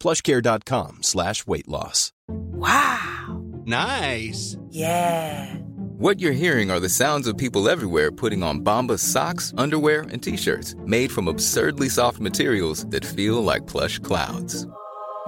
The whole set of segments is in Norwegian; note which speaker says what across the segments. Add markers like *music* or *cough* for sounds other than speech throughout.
Speaker 1: Plushcare.com slash weight loss.
Speaker 2: Wow.
Speaker 3: Nice.
Speaker 2: Yeah.
Speaker 4: What you're hearing are the sounds of people everywhere putting on Bombas socks, underwear, and t-shirts made from absurdly soft materials that feel like plush clouds.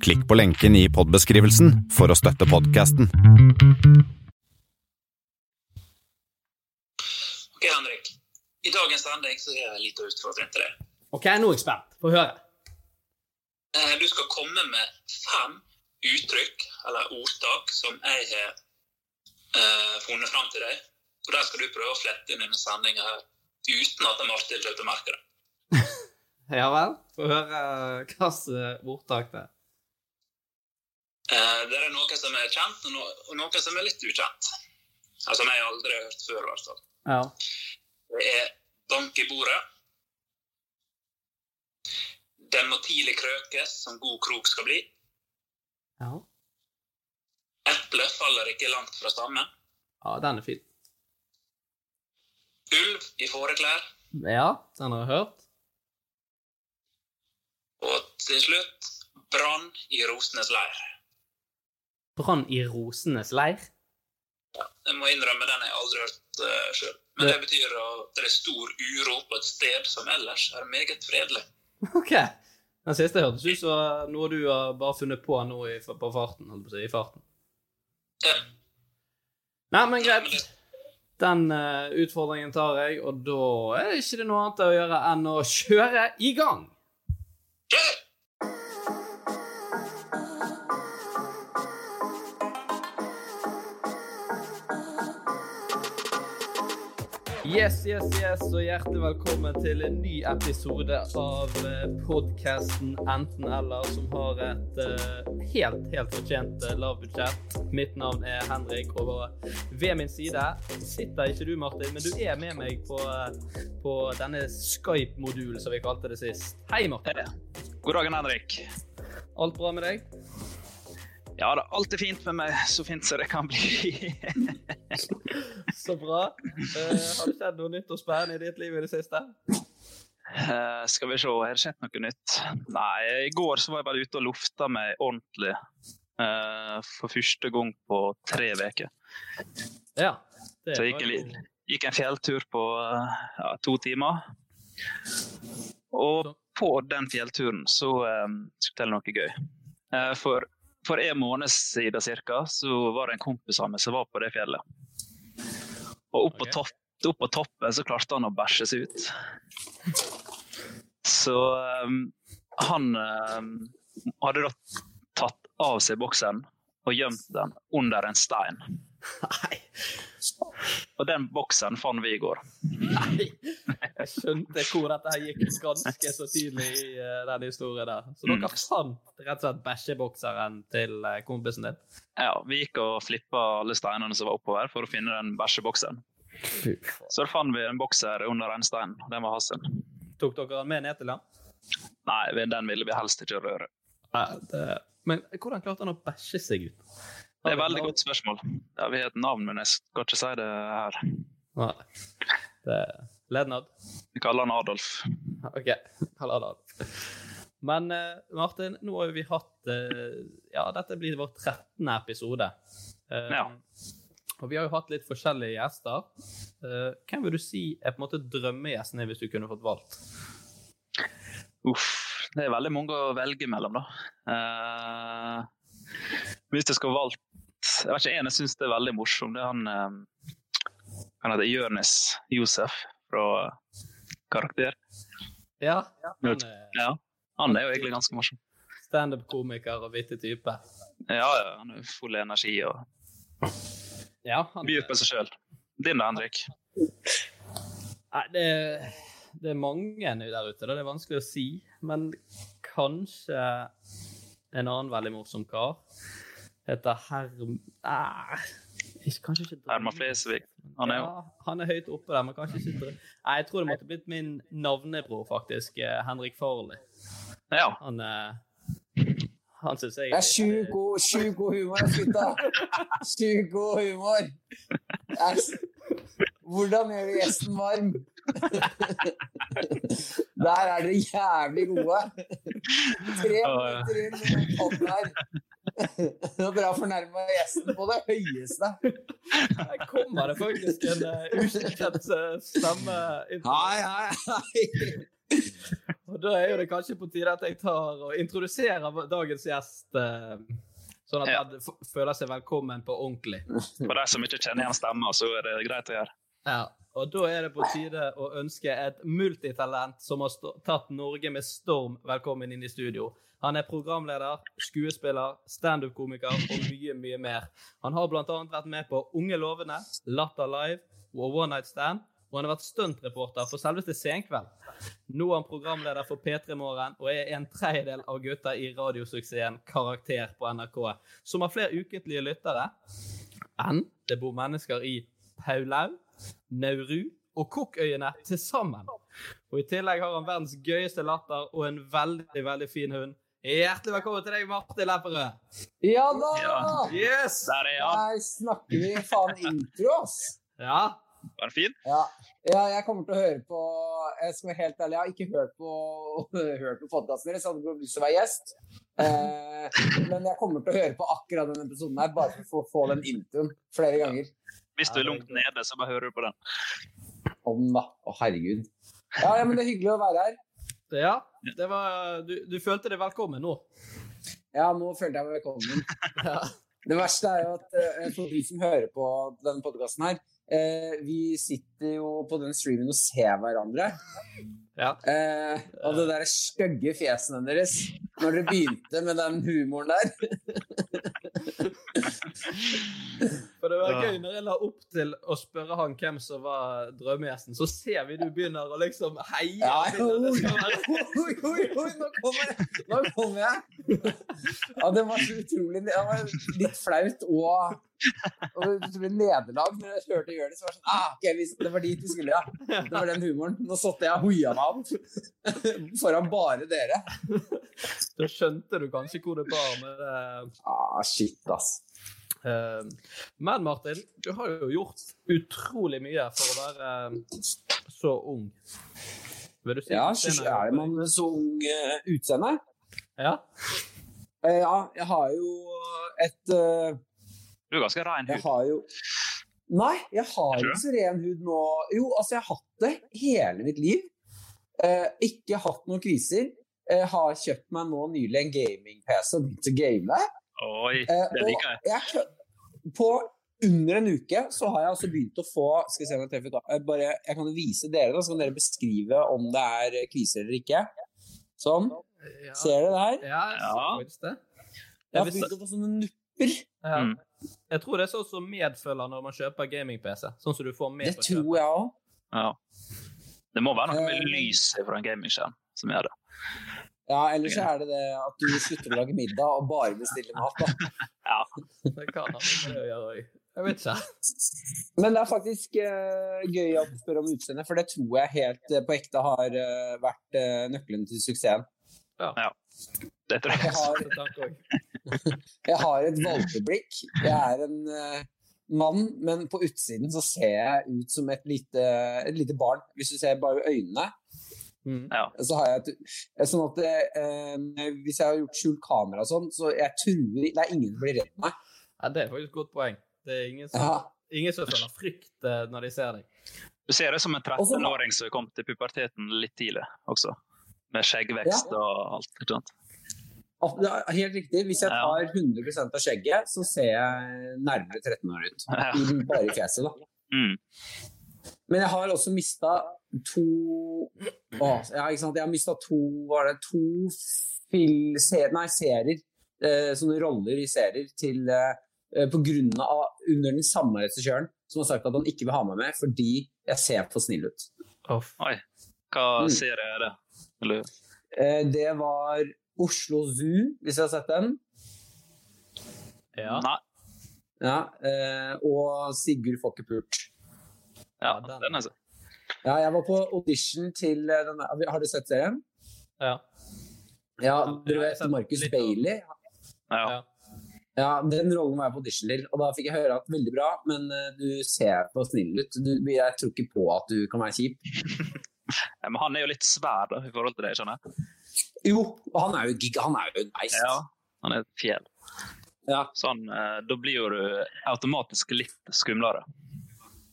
Speaker 5: Klikk på lenken i podbeskrivelsen for å støtte podkasten.
Speaker 6: Ok, Henrik. I dagens anlegg så er jeg litt utfordring til deg.
Speaker 7: Ok, nå er jeg spent. Få høre.
Speaker 6: Eh, Du skal komme med fem uttrykk eller ordtak som jeg har eh, funnet fram til deg. Og der skal du prøve å flette inn i denne sendinga her uten at Martin kommer til å merke det.
Speaker 7: Ja vel. Få høre hva slags ordtak det er.
Speaker 6: Eh, Det er noe som er kjent, og no- og noe som er litt ukjent. Altså, som jeg aldri har hørt før, i hvert fall.
Speaker 7: Ja.
Speaker 6: Det er bank i bordet. Den må tidlig krøkes som god krok skal bli.
Speaker 7: ja.
Speaker 6: Eplet faller ikke langt fra stammen.
Speaker 7: Ja, den er fin.
Speaker 6: Ulv i fåreklær.
Speaker 7: Ja, den har jeg hørt.
Speaker 6: Og til slutt brann i rosenes leir.
Speaker 7: Brann i rosenes leir.
Speaker 6: Jeg må innrømme den har jeg aldri hørt uh, sjøl. Men det betyr at det er stor uro på et sted som ellers er meget fredelig.
Speaker 7: *laughs* Ok. Den siste hørtes ut som noe du har bare funnet på nå i, på farten. Holdt på å si, i farten.
Speaker 6: Ja,
Speaker 7: Nei, men greit. Den eh, utfordringen tar jeg, og da er det ikke noe annet å gjøre enn å kjøre i gang.
Speaker 6: kjør!
Speaker 7: Yes, yes, yes, og hjertelig velkommen til en ny episode av podkasten Enten eller, som har et eh, helt, helt fortjent eh, lavbudsjett. Mitt navn er Henrik, og ved min side sitter ikke du, Martin, men du er med meg på, eh, på denne Skype-modulen som vi kalte det sist. Hei, Martin.
Speaker 8: God dagen, Henrik.
Speaker 7: Alt bra med deg?
Speaker 8: Ja da, alt er fint med meg. Så fint som det kan bli. *laughs*
Speaker 7: Så bra. Eh, har det skjedd noe nytt og spennende i ditt liv i det siste?
Speaker 8: Eh, skal vi se, har det skjedd noe nytt? Nei, i går så var jeg bare ute og lufta meg ordentlig. eh, for første gang på tre uker.
Speaker 7: Ja. det
Speaker 8: Så jeg gikk
Speaker 7: var
Speaker 8: en,
Speaker 7: jo-
Speaker 8: li- gikk en fjelltur på eh, ja, to timer. Og på den fjellturen så eh, skal jeg fortelle noe gøy. Eh, for, for en måned siden cirka, så var det en kompis av meg som var på det fjellet. Og opp på,
Speaker 7: Ok.
Speaker 8: topp, opp på toppen så klarte han å bæsje seg ut. Så eh, han eh, hadde da tatt av seg boksen og gjemt den under en stein. Og den boksen fant vi i går.
Speaker 7: Jeg skjønte hvor dette her gikk ganske så tidlig i eh, den historien der. Så
Speaker 8: Mm.
Speaker 7: dere fant rett og slett bæsjebokseren til eh, kompisen din?
Speaker 8: Ja, vi gikk og flippa alle steinene som var oppover for å finne den bæsjeboksen. Så da fant vi en bokser under en stein. Den var hans. Nei,
Speaker 7: Tok dere den med ned til ham?
Speaker 8: den ville vi helst ikke røre.
Speaker 7: Men Men hvordan klarte han å bæsje seg ut?
Speaker 8: Det er et veldig godt spørsmål. Ja, vi har et navn, men jeg skal ikke si det her.
Speaker 7: Nei. Det er Lennart.
Speaker 8: Vi kaller han Adolf.
Speaker 7: OK. Kall det Adolf. Men eh, Martin, nå har jo vi hatt eh, Ja, dette blir vår 13. episode. Eh,
Speaker 8: Ja.
Speaker 7: Og vi har jo hatt litt forskjellige gjester. Eh, hvem vil du si er på en måte drømmegjestene hvis du kunne fått valgt?
Speaker 8: Uff, det er veldig mange å velge mellom, da. Eh, hvis jeg skal valgt Jeg vet ikke, en jeg syns er veldig morsom, det er han eh, Han heter Jonis Josef fra eh, Karakter.
Speaker 7: Ja, han er
Speaker 8: Ja, han er jo egentlig ganske morsom.
Speaker 7: standup-komiker og vittig type.
Speaker 8: Ja, ja, han er full av energi og
Speaker 7: Ja, han
Speaker 8: byr på seg sjøl. Din da, Henrik.
Speaker 7: Nei, det, det er mange der ute, da. Det er vanskelig å si. Men kanskje en annen veldig morsom kar heter Herm... Nei, ikke- kanskje ikke drøm-
Speaker 8: Herman Flesvig. Han er jo
Speaker 7: Ja, han er høyt oppe der, men kanskje ikke drøm- Nei, jeg tror det måtte blitt min navnebror, faktisk. eh, Henrik Farley.
Speaker 8: Ja.
Speaker 7: Han eh, Han syns jeg
Speaker 3: Det er sjukt god, sjukt god humor, ass, gutta. Sjukt god humor. Ass. Hvordan gjør du gjesten varm? Der er dere jævlig gode. Tre minutter inn i den podden her. Du har bra fornærma gjesten på det høyeste.
Speaker 7: Her kommer det faktisk en eh, ukjent eh, stemme inn.
Speaker 3: Hei, hei, hei.
Speaker 7: Og da er jo det kanskje på tide at jeg tar og introduserer vår- dagens gjest, eh, sånn at
Speaker 8: Ja.
Speaker 7: han f- føler seg velkommen på ordentlig.
Speaker 8: For de som ikke kjenner igjen stemmen, så er det greit å gjøre.
Speaker 7: Ja. Og da er det på tide å ønske et multitalent som har stå- tatt Norge med storm, velkommen inn i studio. Han er programleder, skuespiller, standup-komiker og mye, mye mer. Han har bl.a. vært med på Unge lovende, Latter Live og One Night Stand, og han har vært stuntreporter for selveste Senkveld. Nå er han programleder for P3 Morgen og er en tredjedel av gutta i radiosuksessen Karakter på NRK, som har flere ukentlige lyttere enn det bor mennesker i Paulau, Nauru og Cookøyene til sammen. Og i tillegg har han verdens gøyeste latter og en veldig, veldig fin hund. Hjertelig velkommen til deg, Martin Lepperød.
Speaker 3: Ja da!
Speaker 8: Ja.
Speaker 7: Yes!
Speaker 8: Der er han.
Speaker 3: Her snakker vi faen intro, ass.
Speaker 7: Ja.
Speaker 8: Var den fin?
Speaker 3: Ja. ja, jeg kommer til å høre på Jeg skal være helt ærlig, jeg har ikke hørt på, *laughs* hørt på podkasten deres. Jeg hadde bare lyst til å være gjest. Eh, men jeg kommer til å høre på akkurat denne episoden her, bare for å få den introen flere ganger.
Speaker 8: Hvis du er langt nede, så bare hører du på den.
Speaker 3: Om da. Å, herregud. Ja, ja, men det er hyggelig å være her.
Speaker 7: ja det var, du, du følte deg velkommen nå?
Speaker 3: Ja, nå følte jeg meg velkommen.
Speaker 7: Ja.
Speaker 3: Det verste er jo at eh, for de som hører på denne podkasten her, eh, vi sitter jo på den streamen og ser hverandre.
Speaker 7: Ja.
Speaker 3: Eh, og det der stygge fjesene deres når dere begynte med den humoren der.
Speaker 7: For det var
Speaker 8: Ja.
Speaker 7: gøy når jeg la opp til å spørre han hvem som var drømmegjesten, så ser vi du begynner å liksom heie.
Speaker 3: Ja,
Speaker 7: Det
Speaker 3: oi, oi,
Speaker 7: skal være-
Speaker 3: oi, oi, oi, nå kommer jeg! Nå kommer jeg. Ja, det var så utrolig Det var litt flaut og, og utrolig nederlag når jeg hørte gjøre det. Så var det sånn ah, ok, vi, Det var dit vi skulle, ja. Det var den humoren. Nå satte jeg og hoia meg opp *laughs* foran bare dere.
Speaker 7: *laughs* Da skjønte du kanskje hvor det bar med det.
Speaker 3: Ah, shit, ass.
Speaker 7: Eh, Men Martin, du har jo gjort utrolig mye for å være ehm, så ung. Vil du si
Speaker 3: Ja,
Speaker 7: at det
Speaker 3: så er man så ung eh, utseende.
Speaker 7: Ja,
Speaker 3: Eh, Ja, jeg har jo et eh,
Speaker 8: Du er ganske rein
Speaker 3: Jeg
Speaker 8: hud.
Speaker 3: har jo Nei, jeg har
Speaker 8: Tror du?
Speaker 3: ikke så ren hud nå. Jo, altså, jeg har hatt det hele mitt liv. Eh, ikke hatt noen kriser. Eh, har kjøpt meg nå nylig en gaming-PC og begynt å game.
Speaker 8: Oi,
Speaker 3: Eh,
Speaker 8: det
Speaker 3: og
Speaker 8: liker jeg.
Speaker 3: jeg kø- på under en uke så har jeg altså begynt å få Skal vi se om jeg treffer ut da. Eh, Bare, jeg kan jo vise dere, da, så kan dere beskrive om det er eh, kriser eller ikke. Sånn.
Speaker 7: ja.
Speaker 3: Ser dere det her?
Speaker 7: ja.
Speaker 8: Ja.
Speaker 7: jeg synes det.
Speaker 3: Jeg
Speaker 7: Jeg,
Speaker 3: har
Speaker 7: visste,
Speaker 3: begynt å få sånne nupper.
Speaker 7: ja.
Speaker 8: Mm.
Speaker 7: jeg tror det er sånn som medfølger når man kjøper gaming-PC. Sånn som du får med
Speaker 3: Det
Speaker 7: på
Speaker 3: tror jeg òg.
Speaker 8: Ja. Det må være noe med
Speaker 3: Eh,
Speaker 8: lyset fra en gamingskjerm som gjør det.
Speaker 3: Ja, ellers så er det det at du slutter å lage middag og bare bestiller mat. da.
Speaker 7: kjøpet. Det kan ha med det å gjøre også. Jeg
Speaker 3: *laughs*
Speaker 7: vet ikke.
Speaker 3: Men det er faktisk eh, gøy at du spør om utseendet, for det tror jeg helt eh, på ekte har eh, vært eh, nøkkelen til suksessen.
Speaker 8: Ja. Det tror jeg.
Speaker 3: Jeg har, jeg har et valpeblikk. Jeg er en eh, mann, men på utsiden så ser jeg ut som et lite, et lite barn. Hvis du ser bare øynene,
Speaker 8: Ja.
Speaker 3: så har jeg et eh, Sånn at eh, hvis jeg har gjort skjult kamera og sånn, så jeg truer Det er ingen som blir redd meg.
Speaker 7: Ja, det er faktisk et godt poeng. Det er ingen som,
Speaker 3: Ja.
Speaker 7: ingen som føler frykt eh, når de ser deg.
Speaker 8: Du ser det som en
Speaker 3: Og så-
Speaker 8: 13-åring som kom til puberteten litt tidlig også. Med skjeggvekst og alt. ikke sant?
Speaker 3: At det er Helt riktig. Hvis jeg
Speaker 8: Ja.
Speaker 3: tar 100 av skjegget, så ser jeg nærmere 13 år ut.
Speaker 8: *laughs* Ja.
Speaker 3: I- Bare i fjeset, da.
Speaker 8: Mm.
Speaker 3: Men jeg har også mista to å, ja, ikke sant? Jeg har mista to Var det to fil, se, Nei, serier. Eh, sånne roller i serier til eh, eh, På grunn av Under den samme regissøren som har sagt at han ikke vil ha meg med fordi jeg ser for snill ut.
Speaker 8: Oi. Hva
Speaker 3: Mm.
Speaker 8: ser jeg det? Eller,
Speaker 3: Eh, det var Oslo Zoo, hvis jeg har sett den.
Speaker 7: Ja,
Speaker 8: Nei.
Speaker 3: Ja, eh, og Sigurd får ikke pult.
Speaker 8: Ja,
Speaker 7: Ja, den.
Speaker 8: den er så.
Speaker 3: Ja, jeg var på audition til eh, den Har du sett serien?
Speaker 7: ja.
Speaker 3: Ja,
Speaker 7: Ja,
Speaker 3: du
Speaker 7: jeg har
Speaker 3: vet
Speaker 7: sett
Speaker 3: Marcus
Speaker 7: litt av-
Speaker 3: Bailey.
Speaker 8: Ja.
Speaker 7: Ja.
Speaker 3: Ja, Den rollen var jeg på audition til, og da fikk jeg høre at veldig bra, men eh, du ser for snill ut. Du, jeg tror ikke på at du kan være kjip.
Speaker 8: Ja, Men han er jo litt svær da, i forhold til deg, skjønner jeg.
Speaker 3: Jo, og han er jo giga, han er jo en beist.
Speaker 8: Ja. Han er et fjell.
Speaker 3: Ja.
Speaker 8: Sånn, eh, da blir jo du automatisk litt skumlere. *laughs*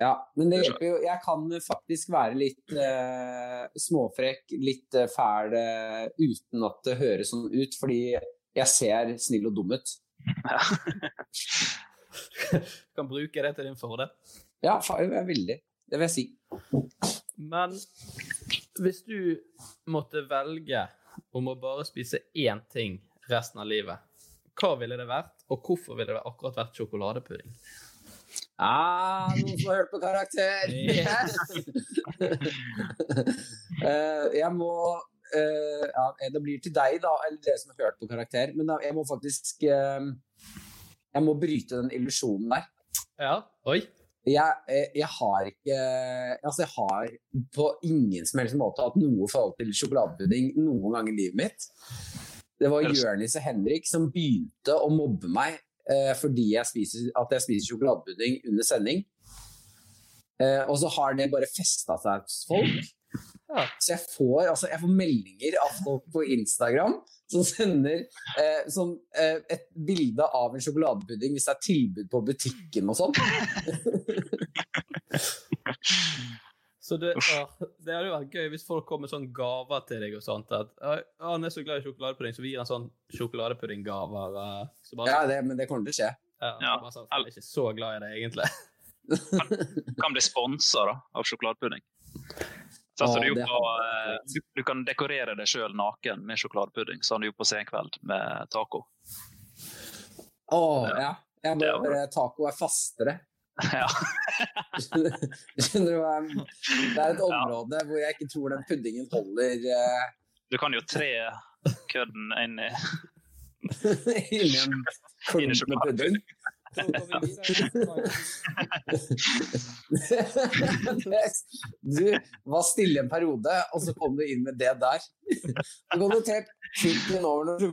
Speaker 3: Ja, men det hjelper jo. Jeg kan faktisk være litt eh, småfrekk, litt eh, fæl, eh, uten at det høres sånn ut, fordi jeg ser snill og dum ut.
Speaker 7: Du kan bruke det til din fordel.
Speaker 3: Ja, fa- jeg er veldig. Det vil jeg si.
Speaker 7: Men hvis du måtte velge om å bare spise én ting resten av livet, hva ville det vært, og hvorfor ville det akkurat vært sjokoladepudding?
Speaker 3: Ah, noen som har hørt på karakter!
Speaker 7: Yes.
Speaker 3: *laughs* Eh, jeg må eh, ja, Det blir til deg, da, eller dere som har hørt på karakter, men da, jeg må faktisk eh, Jeg må bryte den illusjonen der.
Speaker 7: Ja, oi.
Speaker 3: jeg, eh, jeg, jeg har ikke Altså, jeg har på ingen som helst måte hatt noe forhold til sjokoladepudding noen gang i livet mitt. Det var Jørnis og Henrik som begynte å mobbe meg eh, fordi jeg spiser, at jeg spiser sjokoladepudding under sending. Eh, og så har det bare festa seg hos folk.
Speaker 7: Ja.
Speaker 3: Så jeg får, altså, jeg får meldinger av folk på Instagram som sender eh, som, eh, et bilde av en sjokoladepudding hvis det er tilbud på butikken og sånn.
Speaker 7: Så det, ja, det hadde jo vært gøy hvis folk kom med sånne gaver til deg og sånt. At «Ja, han er så glad i sjokoladepudding, så vi gir han sånn sjokoladepuddinggaver. eh, Så bare,
Speaker 3: Ja, det, men det kommer til å skje.
Speaker 7: ja,
Speaker 8: Ja.
Speaker 7: bare sånn, «Faen, jeg er ikke så glad i det, egentlig.
Speaker 8: Kan bli sponsa da, av sjokoladepudding. Så
Speaker 3: Å,
Speaker 8: altså, du,
Speaker 3: det
Speaker 8: gjorde på,
Speaker 3: hadde
Speaker 8: eh, du, du kan dekorere deg sjøl naken med sjokoladepudding, som du gjorde på Senkveld med taco. *laughs*
Speaker 3: Åh, ja. Jeg
Speaker 8: Det er
Speaker 3: bare,
Speaker 8: bra.
Speaker 3: bare taco er fastere. *laughs*
Speaker 8: ja.
Speaker 3: Skjønner du hva jeg mener? Det er et område hvor jeg ikke tror den puddingen holder eh, *laughs*
Speaker 8: Du kan jo tre kødden inn i
Speaker 3: inni en klump
Speaker 8: Inni
Speaker 3: med
Speaker 8: sjokoladepudding.
Speaker 3: pudding. *laughs* du var stille en periode, og så kom du inn med det der. Så kom du til fylte den over når du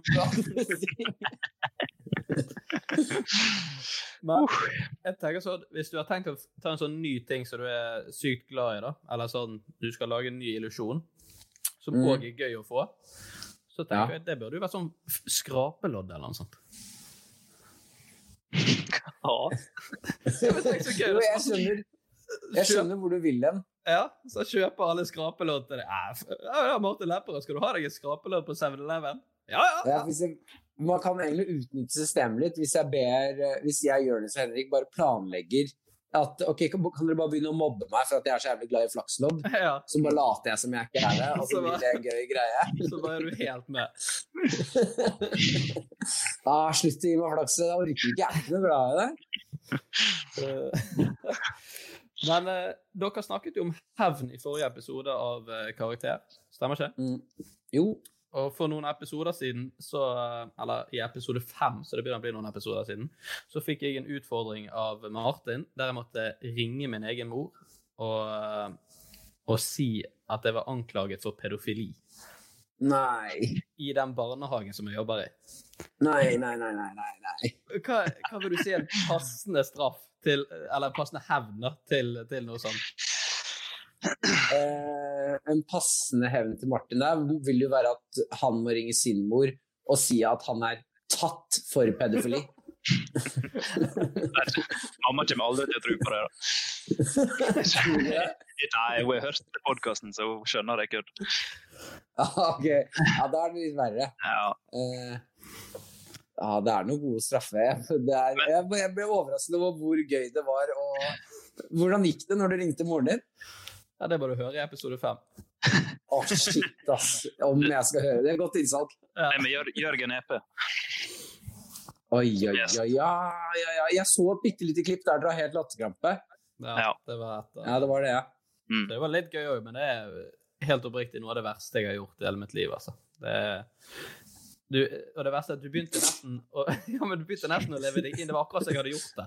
Speaker 3: *laughs*
Speaker 7: Men jeg tenker sånn, hvis du har tenkt å ta en sånn ny ting som du er sykt glad i, da, eller sånn du skal lage en ny illusjon, som
Speaker 3: Mm.
Speaker 7: òg er gøy å få, så
Speaker 3: Ja.
Speaker 7: tenker jeg det burde jo vært sånn f- skrapelodd eller noe sånt.
Speaker 8: Ja.
Speaker 3: Jo, jeg skjønner, jeg skjønner hvor du vil hen.
Speaker 7: Ja, så kjøper alle skrapelodd til deg. Ja, f- Ja, ja, Martin Lepperød, skal du ha deg et skrapelodd på 7-Eleven? Ja, ja.
Speaker 3: Ja, hvis jeg, man kan egentlig utnytte systemet litt hvis jeg ber eh, Hvis jeg, Jonis og Henrik, bare planlegger at ok, kan kan dere bare begynne å mobbe meg for at jeg er så jævlig glad i flakslodd?
Speaker 7: *laughs* ja.
Speaker 3: Så bare later jeg som jeg ikke er det, og *laughs* så
Speaker 7: Så
Speaker 3: blir
Speaker 7: bare-
Speaker 3: det en gøy *laughs* greie.
Speaker 7: Så bare er du helt med.
Speaker 3: Ah, slutt å gi meg flaks, da orker ikke jeg er ikke noe glad i det.
Speaker 7: Eh, *laughs* Men eh, dere snakket jo om hevn i forrige episode av eh, Karakter, stemmer ikke?
Speaker 3: Mm. Jo.
Speaker 7: Og for noen episoder siden, så, eh, eller i episode fem, så det begynner å bli noen episoder siden, så fikk jeg en utfordring av Martin, der jeg måtte ringe min egen mor eh, og, og si at jeg var anklaget for pedofili.
Speaker 3: Nei.
Speaker 7: i den barnehagen som jeg jobber i.
Speaker 3: Nei, nei, nei, nei, nei, nei.
Speaker 7: Hva, hva vil du si er en passende straff til, eh, eller en passende hevn da, til, til noe sånt?
Speaker 3: Eh, en passende hevn til Martin der vil jo være at han må ringe sin mor og si at han er tatt for pedofili.
Speaker 8: Mamma kommer aldri til å tro på det. da. Nei, hun har hørt podkasten, så hun skjønner det er kødd.
Speaker 3: Ah, ok. Ja, da er det litt verre.
Speaker 8: Ja.
Speaker 3: Eh, ja, det er noen gode straffer. Det er, jeg, jeg ble overrasket over hvor gøy det var. Og hvordan gikk det når du ringte moren din?
Speaker 7: Ja, det må du høre i episode fem.
Speaker 3: Å, shit, ass. Om jeg skal høre det. det er Godt innsalg.
Speaker 8: Nei, men Jør- Jørgen E Epe.
Speaker 3: Oi, oi, oi. Ja, ja, ja. Jeg så et bitte lite klipp der dere har helt latterkrampe.
Speaker 7: Ja,
Speaker 8: Ja.
Speaker 7: Det, var et,
Speaker 3: Ja, det var det, ja.
Speaker 8: Mm.
Speaker 7: det var litt gøy òg, men det er helt oppriktig noe av det verste jeg har gjort i hele mitt liv. altså. Det er- du, og det verste er at du begynte nesten å, *laughs* ja, men du begynte nesten å leve deg inn. Det var akkurat som jeg hadde gjort det.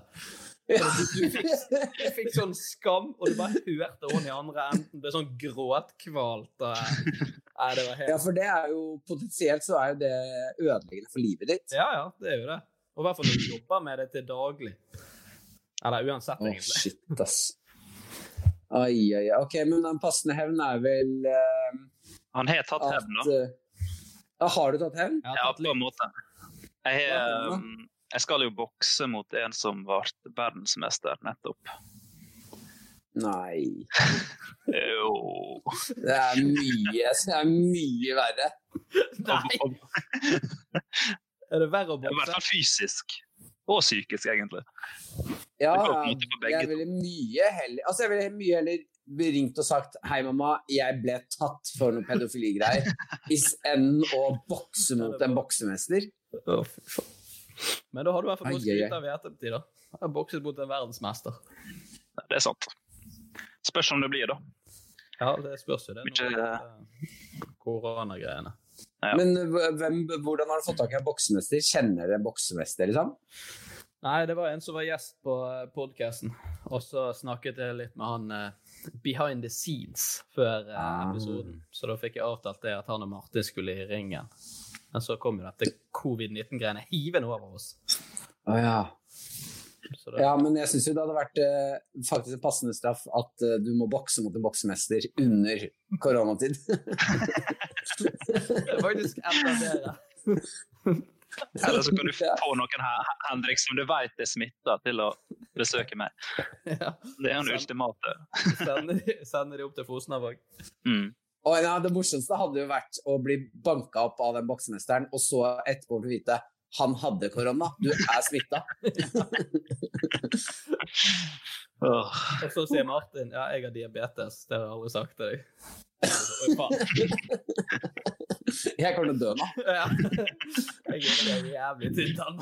Speaker 7: Jeg fikk sånn skam, og du bare hørte hun i andre enden ble sånn gråtkvalt. og- Nei, det var
Speaker 3: *laughs*
Speaker 7: helt
Speaker 3: Ja, for det er jo potensielt så er jo det ødeleggende for livet ditt.
Speaker 7: Ja, ja, det er jo det. Og i hvert fall når du jobber med det til daglig. Eller uansett,
Speaker 3: Å,
Speaker 7: egentlig.
Speaker 3: shit, ass. Oi, oi, oi. Ok, men den passende hevn er vel eh,
Speaker 8: Han har tatt
Speaker 3: at
Speaker 8: hevn, da.
Speaker 3: eh, ja, Har du tatt hevn?
Speaker 7: Jeg har
Speaker 8: Ja,
Speaker 7: tatt
Speaker 8: på en
Speaker 7: litt-
Speaker 8: måte. Jeg, har,
Speaker 3: Ja,
Speaker 8: um, jeg skal jo bokse mot en som ble verdensmester nettopp.
Speaker 3: Nei.
Speaker 8: Jo.
Speaker 3: Det er mye, det er mye verre.
Speaker 7: Nei!
Speaker 8: Og- og- *laughs*
Speaker 7: Er det verre å
Speaker 8: I hvert
Speaker 7: bokse?
Speaker 8: fall fysisk. Og psykisk, egentlig.
Speaker 3: Ja,
Speaker 8: Det går på en måte på begge
Speaker 3: jeg ville mye heller Altså, jeg ville mye heller ringt og sagt Hei, mamma, jeg ble tatt for noen
Speaker 8: *laughs*
Speaker 3: pedofiligreier. is- Enn å bokse mot en boksemester.
Speaker 7: Å, fy faen. Men da har du i hvert fall noe å
Speaker 3: Ai, ai, ai.
Speaker 7: skryte av i ettertid, da. Jeg har bokset mot en verdensmester.
Speaker 8: Det er sant. Spørs om det blir, da.
Speaker 7: Ja, det spørs jo det. nå,
Speaker 8: Mykje-
Speaker 7: dette Koronagreiene.
Speaker 8: Ja.
Speaker 3: Men hv- hvem, hvordan har du fått tak i en boksemester? Kjenner dere en boksemester, liksom?
Speaker 7: Nei, det var en som var gjest på podkasten, og så snakket jeg litt med han eh, behind the scenes før eh,
Speaker 3: Ah.
Speaker 7: episoden. Så da fikk jeg avtalt det at han og Martin skulle i ringen. Men så kom jo dette covid-19-greiene hivende over oss.
Speaker 3: Å ja.
Speaker 7: Så da,
Speaker 3: ja. Men jeg syns jo det hadde vært eh, faktisk en passende straff at eh, du må bokse mot en boksemester under koronatid.
Speaker 8: *laughs*
Speaker 7: det er faktisk enda bedre. *laughs*
Speaker 8: Eller så kan
Speaker 3: *laughs*
Speaker 8: du få noen her, Henrik, som du vet er smitta, til å besøke meg.
Speaker 7: Ja.
Speaker 8: Det er jo det ultimate.
Speaker 7: Sende, sende de opp til Fosnavåg.
Speaker 8: Mm.
Speaker 3: Og ja, det morsomste hadde jo vært å bli banka opp av den boksemesteren, og så etterpå få vite han hadde korona, du er smitta.
Speaker 8: Åh.
Speaker 7: Og så sier Martin ja, jeg har diabetes. Det har jeg aldri sagt til deg. Oi, faen.
Speaker 3: Jeg kommer til å dø nå.
Speaker 7: Ja. Jeg gleder meg jævlig til den.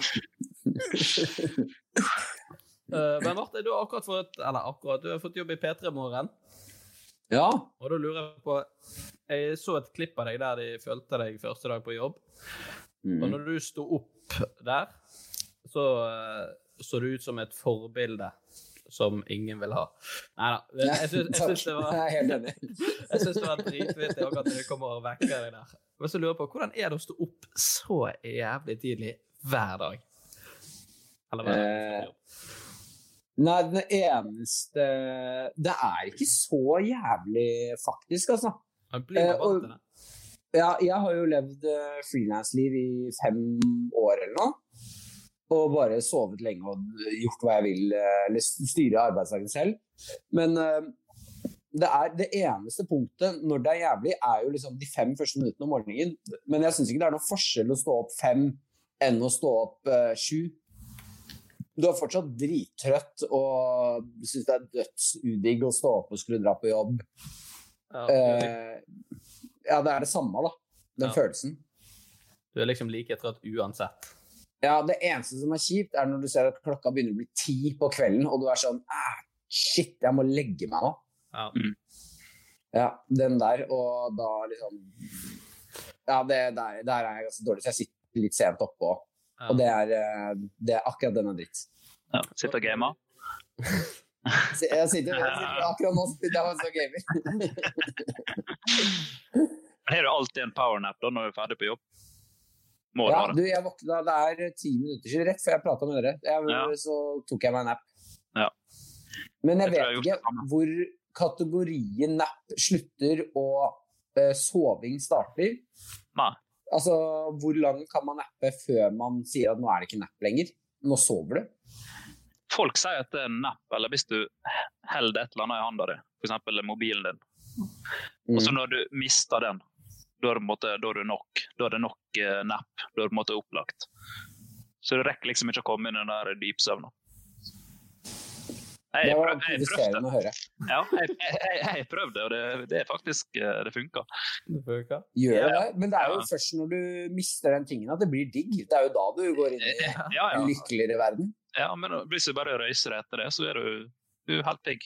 Speaker 7: Eh, Men Martin, du har akkurat fått, eller akkurat, du har fått jobb i P3 Morgen.
Speaker 3: Ja.
Speaker 7: Og da lurer jeg på Jeg så et klipp av deg der de fulgte deg første dag på jobb. Og
Speaker 3: Mm.
Speaker 7: når du sto opp der, så eh, så du ut som et forbilde som ingen vil ha. Nei da. Jeg
Speaker 3: *laughs*
Speaker 7: syns jeg syns det var
Speaker 3: Mm. Jeg er helt enig.
Speaker 7: jeg synes det var dritvittig akkurat når du kommer og vekker deg der. Men så lurer jeg på, hvordan er det å stå opp så jævlig tidlig hver dag? Eller hver
Speaker 3: Eh,
Speaker 7: dag?
Speaker 3: Nei, den eneste Det er ikke så jævlig, faktisk, altså.
Speaker 7: Man blir
Speaker 3: eh,
Speaker 7: man vant til det.
Speaker 3: Ja, jeg har jo levd eh, frilansliv i fem år eller noe. Og bare sovet lenge og gjort hva jeg vil, eh, eller styre arbeidsdagen selv. Men eh, det, er det eneste punktet når det er jævlig, er jo liksom de fem første minuttene om morgenen. Men jeg syns ikke det er noen forskjell å stå opp fem enn å stå opp eh, sju. Du er fortsatt drittrøtt og syns det er dødsudigg å stå opp og skulle dra på jobb.
Speaker 7: Ja,
Speaker 3: Eh, ja, det er det samme, da. Den
Speaker 7: Ja.
Speaker 3: følelsen.
Speaker 7: du er liksom like trøtt uansett.
Speaker 3: Ja, det eneste som er kjipt, er når du ser at klokka begynner å bli ti på kvelden, og du er sånn ah, Shit, jeg må legge meg nå.
Speaker 7: Ja.
Speaker 3: Ja, den der, og da liksom Ja, det, der, der er jeg ganske dårlig, så jeg sitter litt sent oppe òg.
Speaker 7: Ja.
Speaker 3: Og det er, eh, det er akkurat den er dritt.
Speaker 8: Ja, Sitter og gamer.
Speaker 3: Så *laughs* Jeg sitter, jeg sitter akkurat nå sitter jeg og så gamer.
Speaker 8: Men har du alltid en powernap da når du er ferdig på jobb? Må
Speaker 3: Ja,
Speaker 8: du ha
Speaker 3: du,
Speaker 8: det.
Speaker 3: jeg våkna, det er eh, ti minutter siden, rett før jeg prata med dere, jeg,
Speaker 8: Ja.
Speaker 3: så tok jeg meg en nap.
Speaker 8: Ja.
Speaker 3: Men jeg
Speaker 8: Jeg tror jeg har
Speaker 3: vet
Speaker 8: gjort det
Speaker 3: ikke hvor kategorien nap slutter og eh, soving starter.
Speaker 8: Nei.
Speaker 3: Altså, hvor lang kan man nappe før man sier at nå er det ikke napp lenger? Nå sover du?
Speaker 8: Folk sier at det er en napp, eller hvis du holder et eller annet i hånda di, f.eks. mobilen din, og
Speaker 3: Mm.
Speaker 8: så når du mister den, da er det, på en måte, da er det nok. Da er det nok eh, napp. Da er det på en måte opplagt. Så du rekker liksom ikke å komme inn i den der dypsøvnen. Jeg,
Speaker 3: Det
Speaker 8: jeg,
Speaker 3: var
Speaker 8: prøv- jeg, prøvde.
Speaker 3: provoserende å høre.
Speaker 8: Ja, jeg, jeg, jeg, jeg prøvde, og det, det er faktisk eh, Det funka.
Speaker 7: Det funker.
Speaker 3: Gjør
Speaker 8: Ja.
Speaker 3: det det? Men det er jo
Speaker 8: Ja.
Speaker 3: først når du mister den tingen at det blir digg. Det er jo da du går inn i
Speaker 8: *laughs* Ja, ja.
Speaker 3: en lykkeligere verden.
Speaker 8: ja, men hvis du bare røyser deg etter det, så er du, du er helt pigg.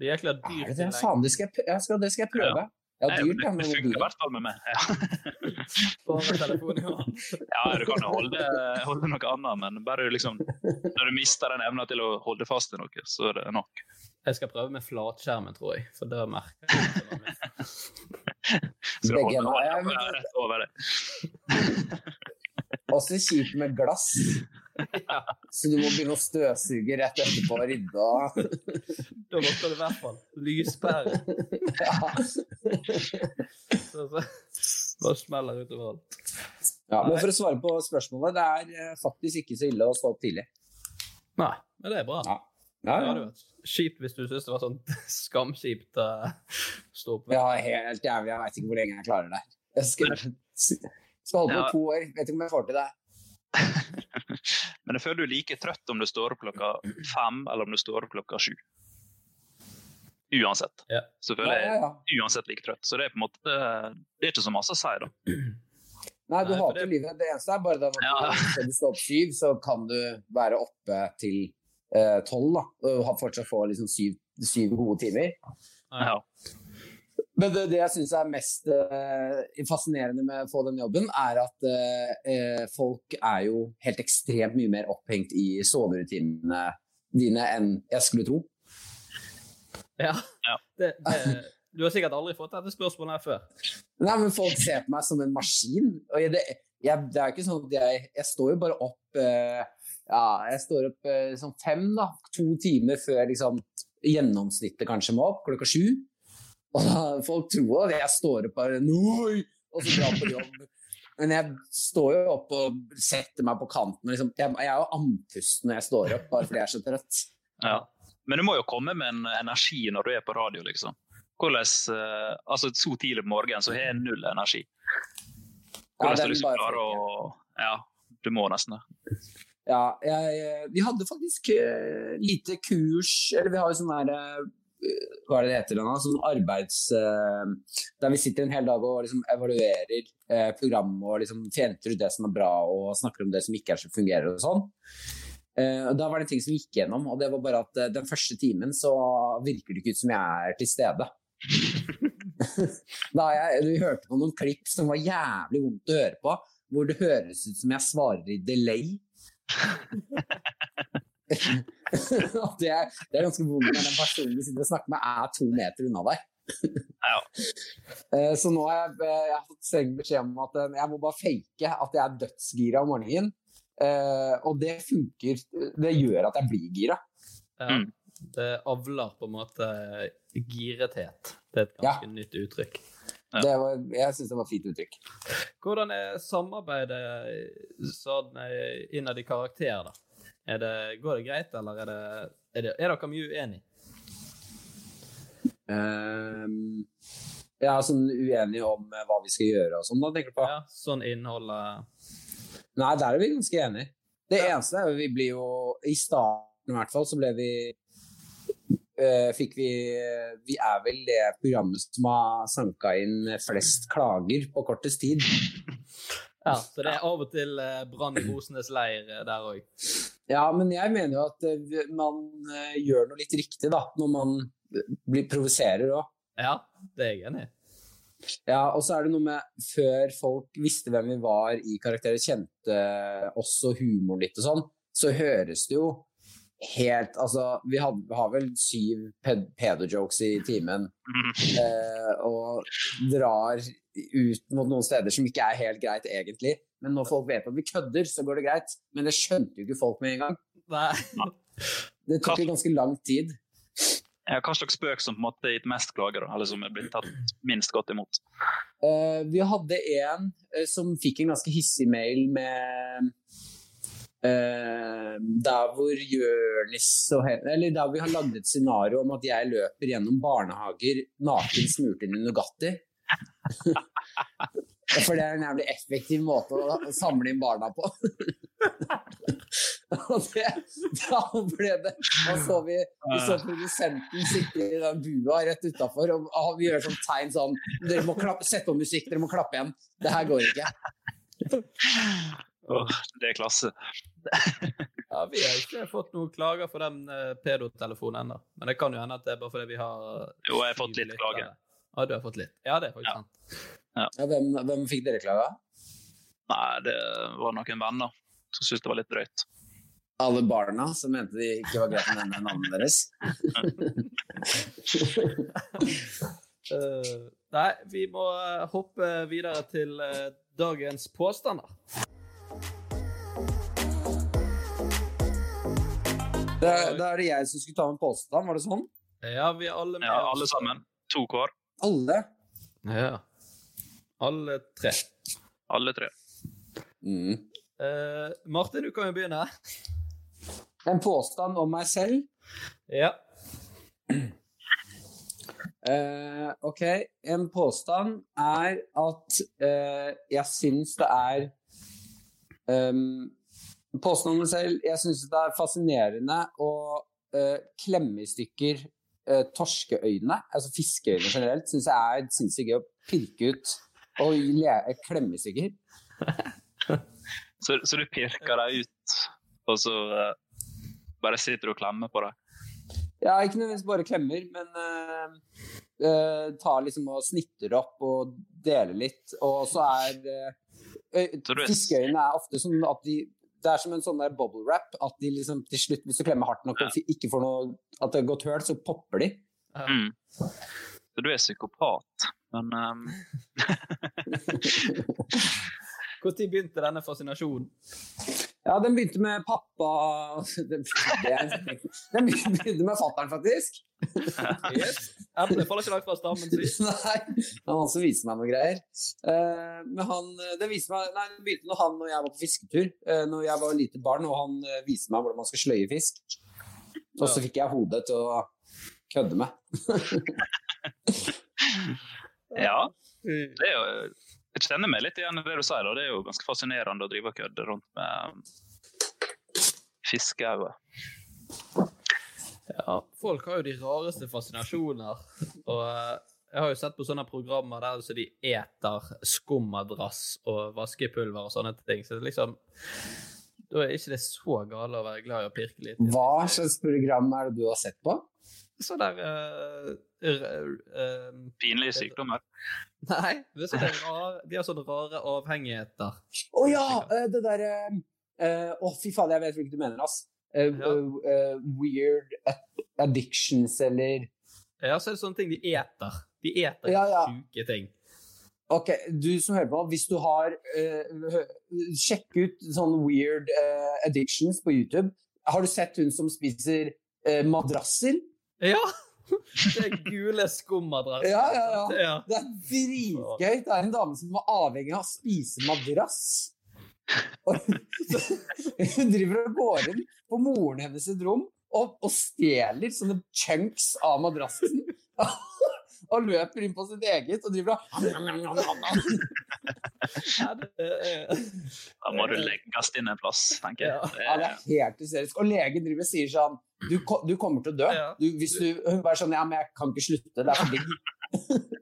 Speaker 7: Det er jækla
Speaker 3: Er
Speaker 7: dyrt.
Speaker 3: det det? Faen, det skal jeg, p- jeg skal, det skal jeg prøve. Ja,
Speaker 8: Nei,
Speaker 3: dyrt, ja,
Speaker 8: det
Speaker 3: men
Speaker 8: det
Speaker 3: hvor
Speaker 8: funker i
Speaker 3: dyrt?
Speaker 8: hvert fall med meg. Ja. *laughs*
Speaker 7: Bare telefonen i hånden.
Speaker 8: Ja, du kan jo holde, holde noe annet, men bare du liksom Når du mister den evna til å holde fast i noe, så er det nok.
Speaker 7: Jeg skal prøve med flatskjermen, tror jeg. For da merker jeg at det var mye.
Speaker 8: Så du
Speaker 3: Begge
Speaker 8: holder,
Speaker 3: ender, ja,
Speaker 8: holder,
Speaker 3: men-
Speaker 8: hånda rett over deg.
Speaker 3: Også kjipt med glass. Så du må begynne å støvsuge rett etterpå og rydde og *laughs*
Speaker 7: Da måtte det i hvert fall lyspære. Så, så. Bare smeller utover alt.
Speaker 3: ja, Men for å svare på spørsmålet, det er eh, faktisk ikke så ille å stå opp tidlig.
Speaker 7: Nei, men det er bra.
Speaker 3: Ja.
Speaker 7: Det
Speaker 3: Ja,
Speaker 7: hadde
Speaker 3: ja.
Speaker 7: vært kjipt hvis du syntes det var sånn *laughs* skamkjipt å stå opp.
Speaker 3: ja helt jævlig. Jeg veit ikke hvor lenge jeg klarer det. her. Jeg skal, *laughs* skal holde på
Speaker 8: Ja.
Speaker 3: i to år. Vet ikke om jeg får til det.
Speaker 8: *laughs* Men jeg føler du er like trøtt om du står opp klokka fem eller om du står opp klokka sju. Uansett.
Speaker 7: Ja.
Speaker 8: Så
Speaker 3: Ja,
Speaker 8: føler
Speaker 3: ja,
Speaker 8: jeg
Speaker 3: ja.
Speaker 8: uansett like trøtt. Så det er på en måte Det er ikke så masse å si, da.
Speaker 3: Nei, du
Speaker 7: Nei, for
Speaker 3: hater
Speaker 7: det-
Speaker 3: livet. Det eneste er bare det at *laughs*
Speaker 8: Ja.
Speaker 3: skal du stå opp syv, så kan du være oppe til eh, tolv, da. Og ha- fortsatt få liksom syv, syv gode timer.
Speaker 8: Ja.
Speaker 3: Men det, det jeg syns er mest eh, fascinerende med å få den jobben, er at eh, eh, folk er jo helt ekstremt mye mer opphengt i soverutinene dine enn jeg skulle tro.
Speaker 7: Ja.
Speaker 8: Ja.
Speaker 7: Det, det, du har sikkert aldri fått dette spørsmålet her før.
Speaker 3: Nei, men folk ser på meg som en maskin. Og jeg, det, jeg, det er jo ikke sånn at jeg Jeg står jo bare opp eh, Ja, jeg står opp eh, sånn fem, da. To timer før liksom gjennomsnittet kanskje må opp. Klokka sju. Og da, folk tror at jeg står opp bare Noi! Og så drar på jobb. Men jeg står jo opp og setter meg på kanten. og Liksom. Jeg, jeg er jo andpusten når jeg står opp, bare fordi jeg er så trøtt.
Speaker 8: Ja. Men du må jo komme med en energi når du er på radio, liksom. Hvordan eh, Altså, så tidlig på morgenen så har jeg null energi.
Speaker 3: den
Speaker 8: Hvordan skal du
Speaker 3: bare får
Speaker 8: klare å Ja, du må nesten det.
Speaker 3: Ja, jeg, eh, vi hadde faktisk eh, lite kurs Eller vi har jo sånn der eh, Hva er det det heter? Anna? Sånn arbeids... eh, der vi sitter en hel dag og liksom evaluerer eh, programmet og liksom fjenter ut det som er bra og snakker om det som ikke er så fungerer og sånn. Eh, og da var det ting som vi gikk gjennom, og det var bare at eh, den første timen så virker det ikke ut som jeg er til stede. *laughs* da jeg, vi hørte på noen klipp som var jævlig vondt å høre på, hvor det høres ut som jeg svarer i delay. *laughs* At det, er, det er ganske vondt når den personen du sitter og snakker med, er to meter unna deg.
Speaker 8: *laughs* Ja.
Speaker 3: Eh, Så nå har jeg, eh, jeg har fått streng beskjed om at eh, jeg må bare fake at jeg er dødsgira om morgenen. Eh, og det funker. Det gjør at jeg blir gira.
Speaker 7: Ja.
Speaker 8: Mm.
Speaker 7: Det avler på en måte girethet. Det er et
Speaker 3: Ja.
Speaker 7: ganske nytt uttrykk.
Speaker 8: Ja.
Speaker 3: Det var, jeg syns det var et fint uttrykk.
Speaker 7: Hvordan er samarbeidet sånn eh, innad i karakterer, da? Er det, går det greit, eller er, det, er, det, er dere mye uenige?
Speaker 3: Ehm, jeg er sånn uenig om eh, hva vi skal gjøre og sånn, da, tenker du på?
Speaker 7: Ja, sånn innholdet
Speaker 3: Nei, der er vi ganske enige. Det eneste er jo vi blir jo I starten i hvert fall så ble vi eh, Fikk vi Vi er vel det programmet som har sanka inn flest klager på kortest tid.
Speaker 7: Ja, så det er av og til eh, brann i rosenes leir eh, der òg.
Speaker 3: Ja, men jeg mener jo at eh, man eh, gjør noe litt riktig, da, når man eh, blir, provoserer òg.
Speaker 7: Ja, det er jeg enig i.
Speaker 3: Ja, og så er det noe med før folk visste hvem vi var i karakterer, kjente også humoren litt og sånn, så høres det jo helt Altså, vi had, har vel syv ped pedo-jokes i timen. Eh, og drar ut mot noen steder som ikke er helt greit, egentlig. Men når folk vet at vi kødder, så går det greit. Men det skjønte jo ikke folk med en gang.
Speaker 7: Nei. *laughs*
Speaker 3: Det tok jo ganske lang tid.
Speaker 8: Ja, hva slags spøk som på en måte har gitt mest klager, da, eller som er blitt tatt minst godt imot?
Speaker 3: Eh, vi hadde en eh, som fikk en ganske hissig mail med eh, Der hvor Jørnis og Hen- Eller der hvor vi har lagd et scenario om at jeg løper gjennom barnehager naken smurt inn i Nugatti. *laughs* For det er en jævlig effektiv måte å, å samle inn barna på. *laughs* og det, da ble det Da så vi, vi så produsenten sitte i den bua rett utafor, og og vi gjør sånn tegn sånn Dere må klappe, sette på musikk, dere må klappe igjen. Det her går ikke.
Speaker 8: Åh, det er klasse.
Speaker 7: Ja, vi har ikke fått noen klager for den eh, pedotelefonen ennå. Men det kan jo hende at det er bare fordi vi har eh,
Speaker 8: Jo, jeg har fått litt klager.
Speaker 7: Ja, du har fått litt. Ja, det er faktisk
Speaker 8: Ja.
Speaker 7: sant.
Speaker 3: Ja, hvem, hvem fikk dere klaga?
Speaker 8: Nei, det var noen venner som syntes det var litt drøyt.
Speaker 3: Alle barna som mente det ikke var greit å nevne navnet deres?
Speaker 7: Eh, nei, vi må eh, hoppe videre til eh, dagens påstander.
Speaker 3: Da, da er det jeg som skulle ta en påstand, var det sånn?
Speaker 7: Ja, vi er alle med.
Speaker 8: Ja,
Speaker 7: oss.
Speaker 8: alle sammen. To hver.
Speaker 3: Alle?
Speaker 7: Ja. Alle tre.
Speaker 8: Alle tre.
Speaker 3: Mm.
Speaker 7: Eh, Martin, du kan jo begynne.
Speaker 3: En påstand om meg selv.
Speaker 7: Ja.
Speaker 3: Eh, ok, en påstand er at eh, jeg syns det er um, Påstanden om meg selv Jeg syns det er fascinerende å eh, klemme i stykker eh, torskeøyne, altså fiskeøyne generelt, syns jeg er sinnssykt gøy å pirke ut og le klemme i stykker.
Speaker 8: Så, så du pirker deg ut, og så eh, bare sitter du og klemmer på deg.
Speaker 3: Ja, ikke nødvendigvis bare klemmer, men eh, eh, tar liksom og snitter opp og deler litt. Og så er eh, øy-
Speaker 8: Så du er-
Speaker 3: Fiskeøyne er ofte sånn at de Det er som en sånn der bubble wrap, at de liksom til slutt, hvis du klemmer hardt nok og fi- ikke får noe At det har gått høl, så popper de.
Speaker 8: Mm. Så du er psykopat. Men eh,
Speaker 7: Når begynte denne fascinasjonen?
Speaker 3: Ja, den begynte med pappa *laughs* Den det er- den begynte med fatter'n, faktisk.
Speaker 7: Yes. Emnet faller ikke langt fra stammen. så vi-
Speaker 3: *laughs* Nei, det var han som viste meg noen greier. Eh, men han, eh, det viste meg, nei, det begynte når han og jeg var på fisketur, uh, når jeg var lite barn, og han eh, viste meg hvordan man skal sløye fisk. Og så fikk jeg hodet til å kødde med.
Speaker 8: ja, det er jo Jeg kjenner meg litt igjen i det du sier. da. Det er jo ganske fascinerende å drive og kødde rundt med fiskeauge.
Speaker 7: Ja, folk har jo de rareste fascinasjoner. Og eh, jeg har jo sett på sånne programmer der så de eter skummadrass og vaskepulver og sånne ting. Så det er liksom Da er ikke det så gale å være glad i å pirke litt.
Speaker 3: Hva slags program er det du har sett på?
Speaker 7: Så der eh, r- eh,
Speaker 8: Pinlige sykdommer.
Speaker 7: Nei, det er sånne rare, de har sånne rare avhengigheter.
Speaker 3: Å ja! eh, det derre Å, fy faen, jeg vet hvilket du mener, ass. Eh,
Speaker 7: Ja.
Speaker 3: eh, eh, weird addictions eller
Speaker 7: Ja, så er det sånne ting de eter. De eter
Speaker 3: Ja, ja.
Speaker 7: sjuke ting.
Speaker 3: Ok, du som hører på, hvis du har eh, hø- Sjekk ut sånne weird eh, addictions på YouTube. Har du sett hun som spiser eh, madrasser?
Speaker 7: Ja! *laughs* Det er gule skummadrasser.
Speaker 3: Ja, ja, ja.
Speaker 7: ja.
Speaker 3: Det er dritgøy! Det er en dame som var avhengig av å spise madrass. Og *laughs* hun driver og går inn på moren hennes sitt rom og, og stjeler sånne chunks av madrassen. *laughs* Og løper inn på sitt eget og driver og
Speaker 7: Ja, det er-
Speaker 8: Da må du legges inn en plass, tenker
Speaker 7: Ja.
Speaker 8: jeg. Det
Speaker 3: Ja, det
Speaker 8: er-
Speaker 3: er helt hysterisk. Og legen driver og sier sånn du, ko- du kommer til å dø.
Speaker 7: Ja.
Speaker 3: Du, hvis du, hun bare sånn Ja, men jeg kan ikke slutte. Det er for digg.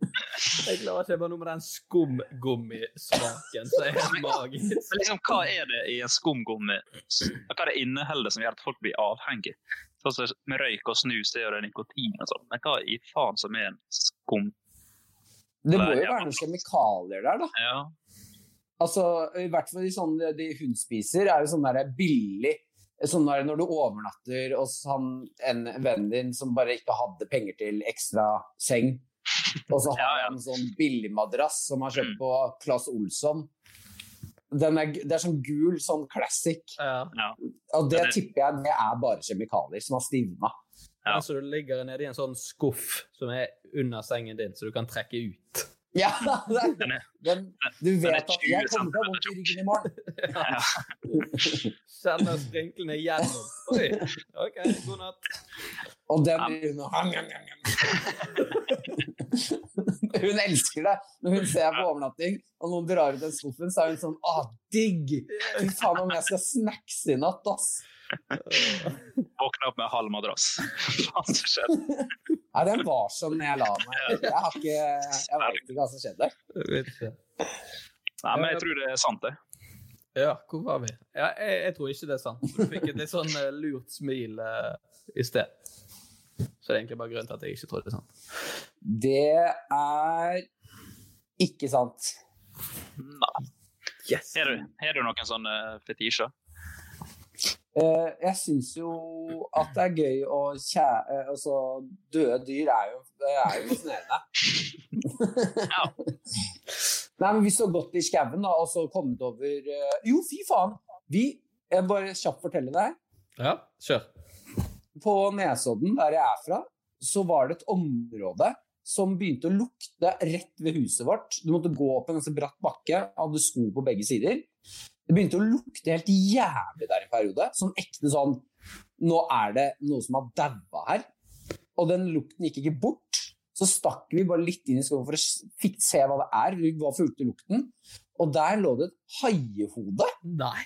Speaker 7: Jeg klarer ikke bare noe med den skumgummismaken som er helt magisk.
Speaker 8: Men liksom, hva er det i en skumgummi? Hva er det inneholdet som gjør at folk blir avhengige? Sånn som med røyk og snus, det er jo det nikotin og sånn. Men hva i faen som er en skum?
Speaker 3: Det må jo være noen kjemikalier der, da.
Speaker 8: Ja,
Speaker 3: Altså, I hvert fall i sånne de hun spiser, er jo sånn der sånn billig Sånn er det når du overnatter hos han, en venn din som bare ikke hadde penger til ekstra seng. Og så har han en sånn billigmadrass som han har kjøpt på Claes Olsson. Den er, g- det er sånn gul, sånn classic.
Speaker 8: Ja.
Speaker 3: Og det
Speaker 8: Den er-
Speaker 3: tipper jeg det er bare kjemikalier som har stivna.
Speaker 8: Ja.
Speaker 7: Altså, du ligger nede i en sånn skuff som er under sengen din, så du kan trekke ut.
Speaker 3: Ja, *laughs* det er,
Speaker 8: Den er,
Speaker 3: den, du
Speaker 8: den er
Speaker 3: vet at jeg
Speaker 8: 20
Speaker 3: kommer til å ha vondt i ryggen i morgen.
Speaker 8: ja.
Speaker 7: Kjenner sprinklene gjennom. Oi, OK, god natt.
Speaker 3: Og den hun *laughs* Hun elsker det. Når hun ser på overnatting, og noen drar ut den skuffen, så er hun sånn Å, digg! Fy faen om jeg skal snacks i natt, ass!
Speaker 8: Våkna opp med halv madrass. Faen, så skjedde.
Speaker 3: Nei, den var som når jeg la meg. Jeg har ikke Jeg veit ikke hva som skjedde.
Speaker 7: Jeg vet ikke.
Speaker 8: Nei, men jeg tror det er sant, det.
Speaker 7: Ja, hvor var vi? Ja, jeg, jeg tror ikke det er sant. Du fikk et litt sånn eh, lurt smil eh, i sted. Så det er egentlig bare grunnen til at jeg ikke tror det er sant.
Speaker 3: Det er ikke sant.
Speaker 8: Nei.
Speaker 7: Yes!
Speaker 8: Har du, har du noen sånne fetisjer? *laughs*
Speaker 3: Eh, jeg syns jo at det er gøy å kjære Altså, døde dyr er jo Det er jo fascinerende. Nei, men vi så godt i skauen, da, og så kommet over eh, Jo, fy faen! Vi Jeg bare kjapt fortelle deg.
Speaker 7: Ja, kjør.
Speaker 3: På Nesodden, der jeg er fra, så var det et område som begynte å lukte rett ved huset vårt. Du måtte gå opp en ganske bratt bakke, hadde sko på begge sider. Det begynte å lukte helt jævlig der en periode. Sånn ekte sånn Nå er det noe som har daua her. Og den lukten gikk ikke bort. Så stakk vi bare litt inn i skogen for å s- fikk se hva det er. Vi bare fulgte lukten. Og der lå det et haiehode.
Speaker 7: Nei!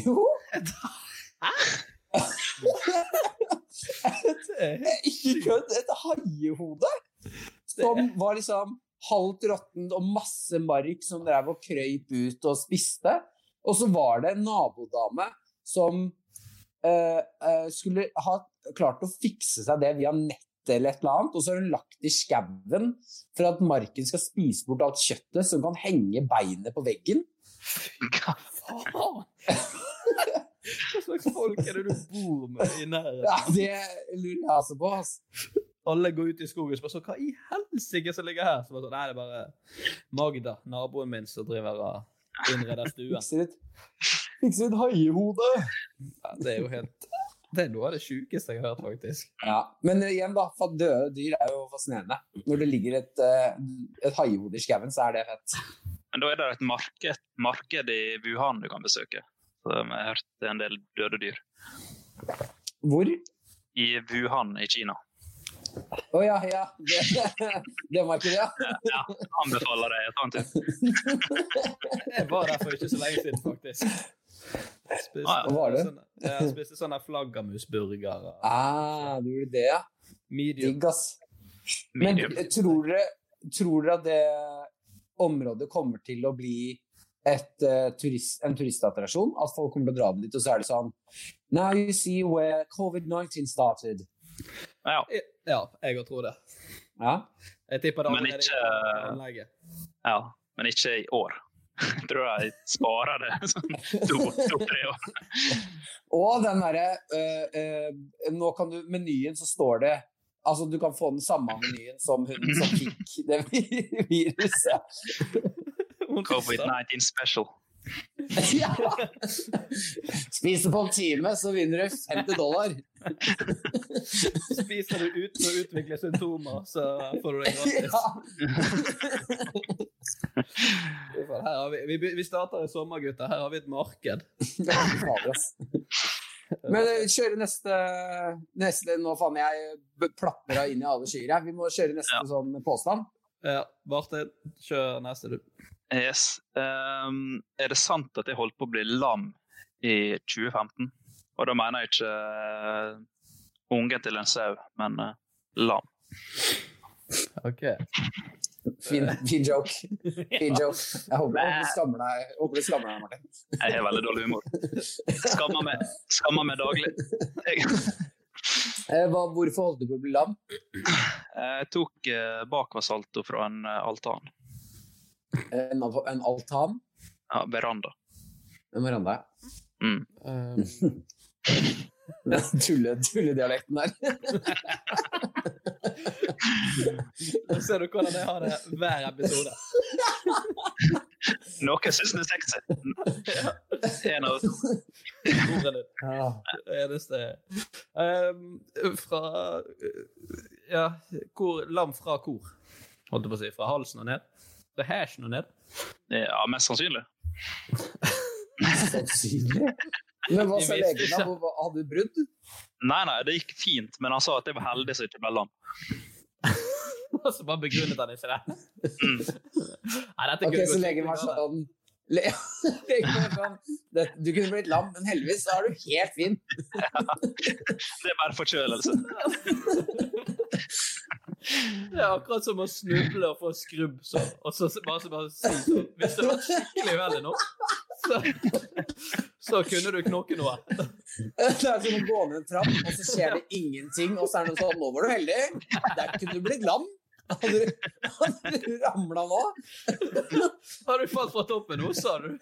Speaker 3: Jo!
Speaker 7: Det er-
Speaker 3: Ikke kødd! Et haiehode! Som var liksom halvt råttent og masse mark som drev og krøyp ut og spiste. Og så var det en nabodame som eh, eh, skulle ha klart å fikse seg det via nett eller et eller annet, og så har hun lagt i skauen for at marken skal spise bort alt kjøttet, så hun kan henge beinet på veggen.
Speaker 8: Hva
Speaker 7: Faen! Hva slags folk er det du bor med i nærheten?
Speaker 3: Ja, det lurer jeg altså på. ass.
Speaker 7: Alle går ut i skogen og spør så hva i helsike som ligger her. Så bare sånn, Nei, det er bare Magda, naboen min, som driver og innreder
Speaker 3: *laughs*
Speaker 7: stuen.
Speaker 3: Fikser ut, fikser ut haiehode!
Speaker 7: Ja, det er jo helt Det er noe av det sjukeste jeg har hørt, faktisk.
Speaker 3: Ja, Men igjen, da. For døde dyr er jo fascinerende. Når det ligger et, eh, et haiehode i skauen, så er det fett.
Speaker 8: Men da er det et marked, marked i Wuhan du kan besøke. Så jeg har hørt det er en del døde dyr.
Speaker 3: Hvor?
Speaker 8: I Wuhan i Kina.
Speaker 3: Å ja, ja. Det, *laughs* det var ikke det, ja.
Speaker 8: Anbefaler deg å ta en tur.
Speaker 7: Jeg var der for ikke så lenge siden, faktisk. Spiste,
Speaker 8: Ah,
Speaker 3: ja. Var det?
Speaker 7: Sånne, ja, jeg spiste sånne flaggermusburger og
Speaker 3: Ah, du gjorde det, ja.
Speaker 7: medium.
Speaker 3: Digg, ass. Men
Speaker 8: Medium.
Speaker 3: tror dere, tror dere at det området kommer til å bli et, eh, turist, en turistattraksjon? At folk kommer til å dra dit, og så er det sånn Now you see where covid-19 started.
Speaker 8: Ja,
Speaker 7: Ja, jeg òg tror det.
Speaker 3: Ja.
Speaker 7: Jeg tipper det
Speaker 8: Men
Speaker 7: allerede
Speaker 8: ikke-
Speaker 7: i
Speaker 3: eh,
Speaker 7: anlegget.
Speaker 8: ja. Men ikke i år. *laughs* Jeg tror jeg sparer det *laughs* sånn to-tre år.
Speaker 3: Og den derre øh, øh, Nå kan du Menyen, så står det Altså, du kan få den samme menyen som hun som fikk det vi- viruset.
Speaker 8: Covid-19 special.
Speaker 3: Ja. Spiser på en time, så vinner du 50 dollar.
Speaker 7: Spiser du uten å utvikle symptomer, så
Speaker 3: *laughs*
Speaker 7: får du det gratis.
Speaker 3: Ja.
Speaker 7: Fy faen, Her har vi, vi, be- vi starter i sommer, gutter. Her har vi et marked.
Speaker 3: Det er farlig, ass. Men øh, kjøre neste, neste Nå faen jeg b- plapper av inn i alle skyer. jeg. Vi må kjøre neste
Speaker 8: Ja.
Speaker 3: sånn påstand.
Speaker 7: Ja, Martin, kjør neste, du.
Speaker 8: Yes. Ehm, er det sant at jeg holdt på å bli lam i 2015? Og da mener jeg ikke eh, ungen til en sau, men eh, lam.
Speaker 7: OK.
Speaker 3: Fin, fin joke. Fin joke. Jeg håper, håper du skammer deg, håper du skammer deg Martin.
Speaker 8: Jeg har veldig dårlig humor. Skammer meg, skammer meg daglig. Jeg,
Speaker 3: Eh, hva, hvorfor holdt du på å bli lam?
Speaker 8: jeg tok eh, bakvasalto fra en eh, altan.
Speaker 3: En, av- en altan?
Speaker 8: Ja, veranda.
Speaker 3: En veranda?
Speaker 8: Mm.
Speaker 3: *laughs* Um, den tulle, tulledialekten der.
Speaker 9: Nå *laughs* ser du hvordan jeg har det hver episode.
Speaker 8: Noen syns den er sexy. En av
Speaker 9: Ordene dine. Det eneste Ehm, Fra eh, Ja, hvor, lam fra hvor? Holdt jeg på å si. Fra halsen og ned? Fra hæsjen og ned? *laughs*
Speaker 8: Ja, mest sannsynlig.
Speaker 3: Sannsynlig. Men hva
Speaker 9: Vi
Speaker 3: sa
Speaker 9: visste
Speaker 3: legen? da? Hvor- hva- Hadde du brudd?
Speaker 8: Nei, nei, det gikk fint, men han sa at jeg var heldig som ikke ble lam.
Speaker 9: Og så bare begrunnet han ikke
Speaker 3: *laughs*
Speaker 9: det. Nei, dette er
Speaker 3: Ok,
Speaker 9: gøy.
Speaker 3: så legen var sånn le, *laughs* legen var sånn, det, Du kunne blitt lam, men heldigvis så er du helt fin.
Speaker 8: Det er bare forkjølelse.
Speaker 9: Det er akkurat som å snuble og få skrubb sånn, og så bare, så bare si sånn Hvis *laughs* det var skikkelig uheldig nå, så, så kunne du knokke noe.
Speaker 3: Det er som å gå ned en trapp, og så skjer det ingenting, og så er det noen sånn Nå var du heldig. Der kunne du blitt lam. Hadde du, hadde du ramla nå? *laughs*
Speaker 9: Har du falt fra toppen nå, sa du?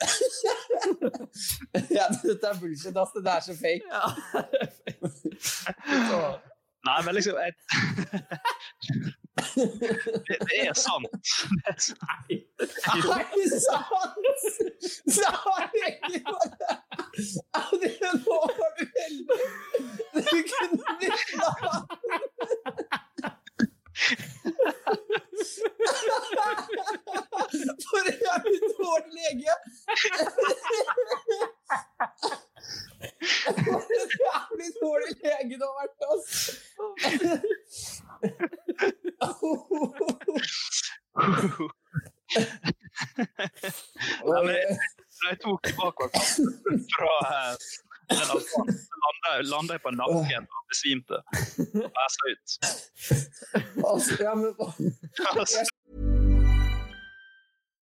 Speaker 3: Ja, dette er bullshit, ass. Det er så fake.
Speaker 9: Ja. Så,
Speaker 8: Nei, men liksom jeg... det, det er sant. Det er sant.
Speaker 3: Nei, sant! Så har du egentlig bare Ja, det- Nå var du heldig! Du kunne blitt lam! For en jævlig dårlig lege! For en jævlig dårlig lege du har vært, ass!
Speaker 8: Nei, men jeg, når jeg tok tilbakekampen fra eh, den alfanen, så landa jeg- landa jeg på nakken og besvimte. Og jeg sa ut.
Speaker 3: Altså, ja, men
Speaker 8: Altså,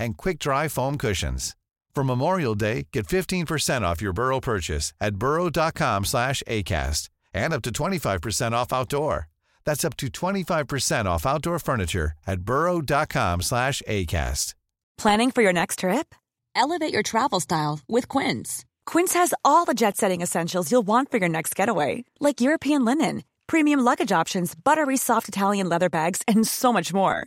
Speaker 1: and quick-dry foam cushions. For Memorial Day, get 15% off your Burrow purchase at burrow.com/acast and up to 25% off outdoor. That's up to 25% off outdoor furniture at burrow.com/acast.
Speaker 7: Planning for your next trip? Elevate your travel style with Quince. Quince has all the jet setting essentials you'll want for your next getaway, like European linen, premium luggage options, buttery soft Italian leather bags, and so much more.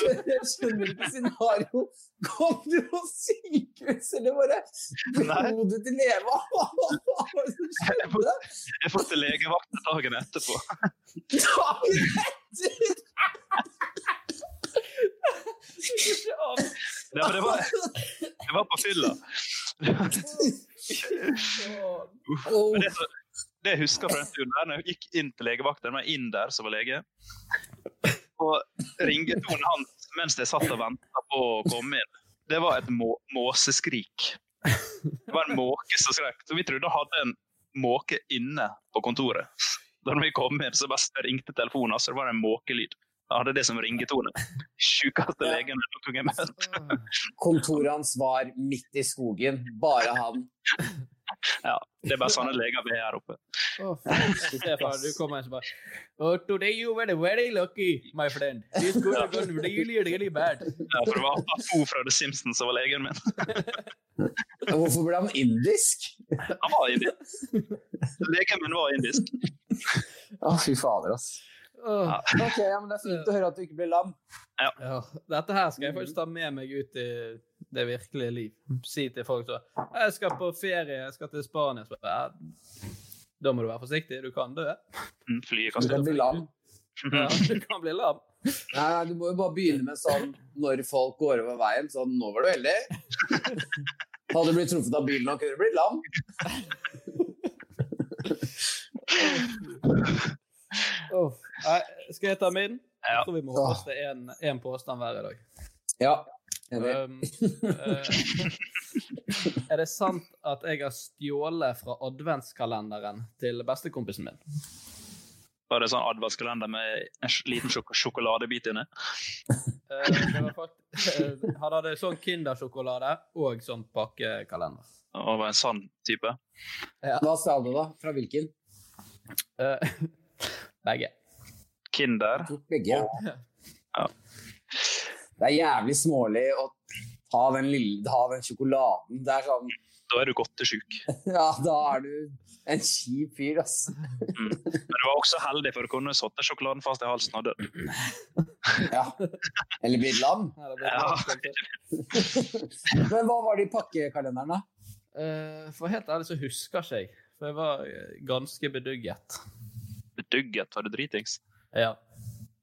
Speaker 3: Jeg skjønner ikke scenario. Kom du på sykehus, eller bare
Speaker 8: Nei.
Speaker 3: hodet til leva? *laughs* Hva var det som skjedde?
Speaker 8: *laughs* Jeg får til legevakten dagen etterpå.
Speaker 3: Dagen etter!
Speaker 8: Nei, men det var, jeg var på fylla. Uff. Men det, som- det jeg husker fra den turen der, når jeg gikk inn til legevakten, var jeg inn der som var lege, og ringetonen hans mens jeg satt og venta på å komme inn, det var et må måseskrik. Det var en måke som skrek. Så vi trodde han hadde en måke inne på kontoret. Da vi kom inn, så bare ringte telefonen, og så var det en måkelyd. Jeg hadde det som ringetone. Sjukeste legen jeg noen gang har møtt.
Speaker 3: Kontoret hans var midt i skogen. Bare han.
Speaker 8: Ja, det er bare sånne leger vi er her oppe.
Speaker 7: Å, faen, *laughs* Stefan, du kommer ikke bare oh, Today you were very lucky, my friend. This could have gone really, really bad.
Speaker 8: Ja, for det var Apu fra The Simpsons som var legen min.
Speaker 3: Hvorfor ble han indisk?
Speaker 8: Han var Ah, indisk. Legen min var indisk.
Speaker 3: Å, fy fader, ass.
Speaker 7: Ah.
Speaker 3: Ok, ja, men Det er fint å høre at du ikke ble lam.
Speaker 7: Ja, dette her skal jeg faktisk ta med meg ut i det virkelige liv. Si til folk så Jeg skal på ferie, jeg skal til Spania. Så bare, ja, da må du være forsiktig, du kan dø.
Speaker 8: Mm, Flyet
Speaker 3: Du kan bli lam.
Speaker 7: Ja, du kan bli lam.
Speaker 3: Nei, nei, du må jo bare begynne med sånn når folk går over veien. Sånn, nå var du heldig. Hadde du blitt truffet av bilen, nå kunne du blitt lam.
Speaker 7: Åh, Nei, skal jeg ta min?
Speaker 8: Jeg
Speaker 7: tror vi må poste en, en påstand hver i dag.
Speaker 3: Ja.
Speaker 7: Um, eh, er det sant at jeg har stjålet fra adventskalenderen til bestekompisen min?
Speaker 8: Var det sånn adventskalender med en sj- liten sjok sjokoladebit inni?
Speaker 7: Eh, det var fakt- eh, han hadde sånn Kindersjokolade og sånn pakkekalender.
Speaker 8: Og var en sånn type?
Speaker 3: Hva sa du da? Fra hvilken?
Speaker 7: Eh, *laughs* Begge.
Speaker 8: Kinder?
Speaker 3: Begge. Det er jævlig smålig å ta den lille ta den sjokoladen. Det er sånn
Speaker 8: Da er du godtesjuk.
Speaker 3: Ja, da er du en kjip fyr, ass.
Speaker 8: Mm. Men du var også heldig, for du kunne satt sjokoladen fast i halsen og dødd.
Speaker 3: Eller blitt lam.
Speaker 8: Ja.
Speaker 3: Men hva var det i pakkekalenderen, da?
Speaker 7: Eh, for helt ærlig så husker ikke jeg. For jeg var eh, ganske bedugget.
Speaker 8: Bedugget? Var du dritings?
Speaker 7: Ja.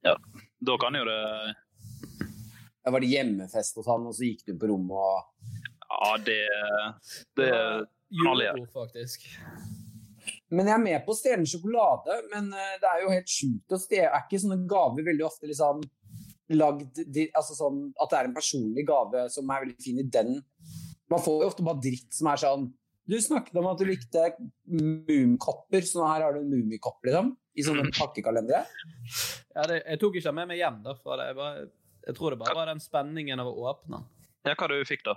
Speaker 8: ja. Da kan jo det
Speaker 3: Ja, Var det hjemmefest hos han, og så gikk du på rommet og
Speaker 8: Ja, det Det
Speaker 7: Julebord, faktisk.
Speaker 3: Men jeg er med på å stjele sjokolade, men eh, det er jo helt sjukt å stjele. Er ikke sånne gaver veldig ofte liksom lagd di- altså sånn At det er en personlig gave som er veldig fin i den. Man får jo ofte bare dritt som er sånn Du snakket om at du likte mummikopper, så her har du en mummikopp, liksom. I sånne pakkekalendere.
Speaker 7: Ja, det, jeg tok ikke med meg hjem, da. For det, jeg, bare, jeg tror det bare var den spenningen av å åpne den.
Speaker 8: Ja, hva du fikk da?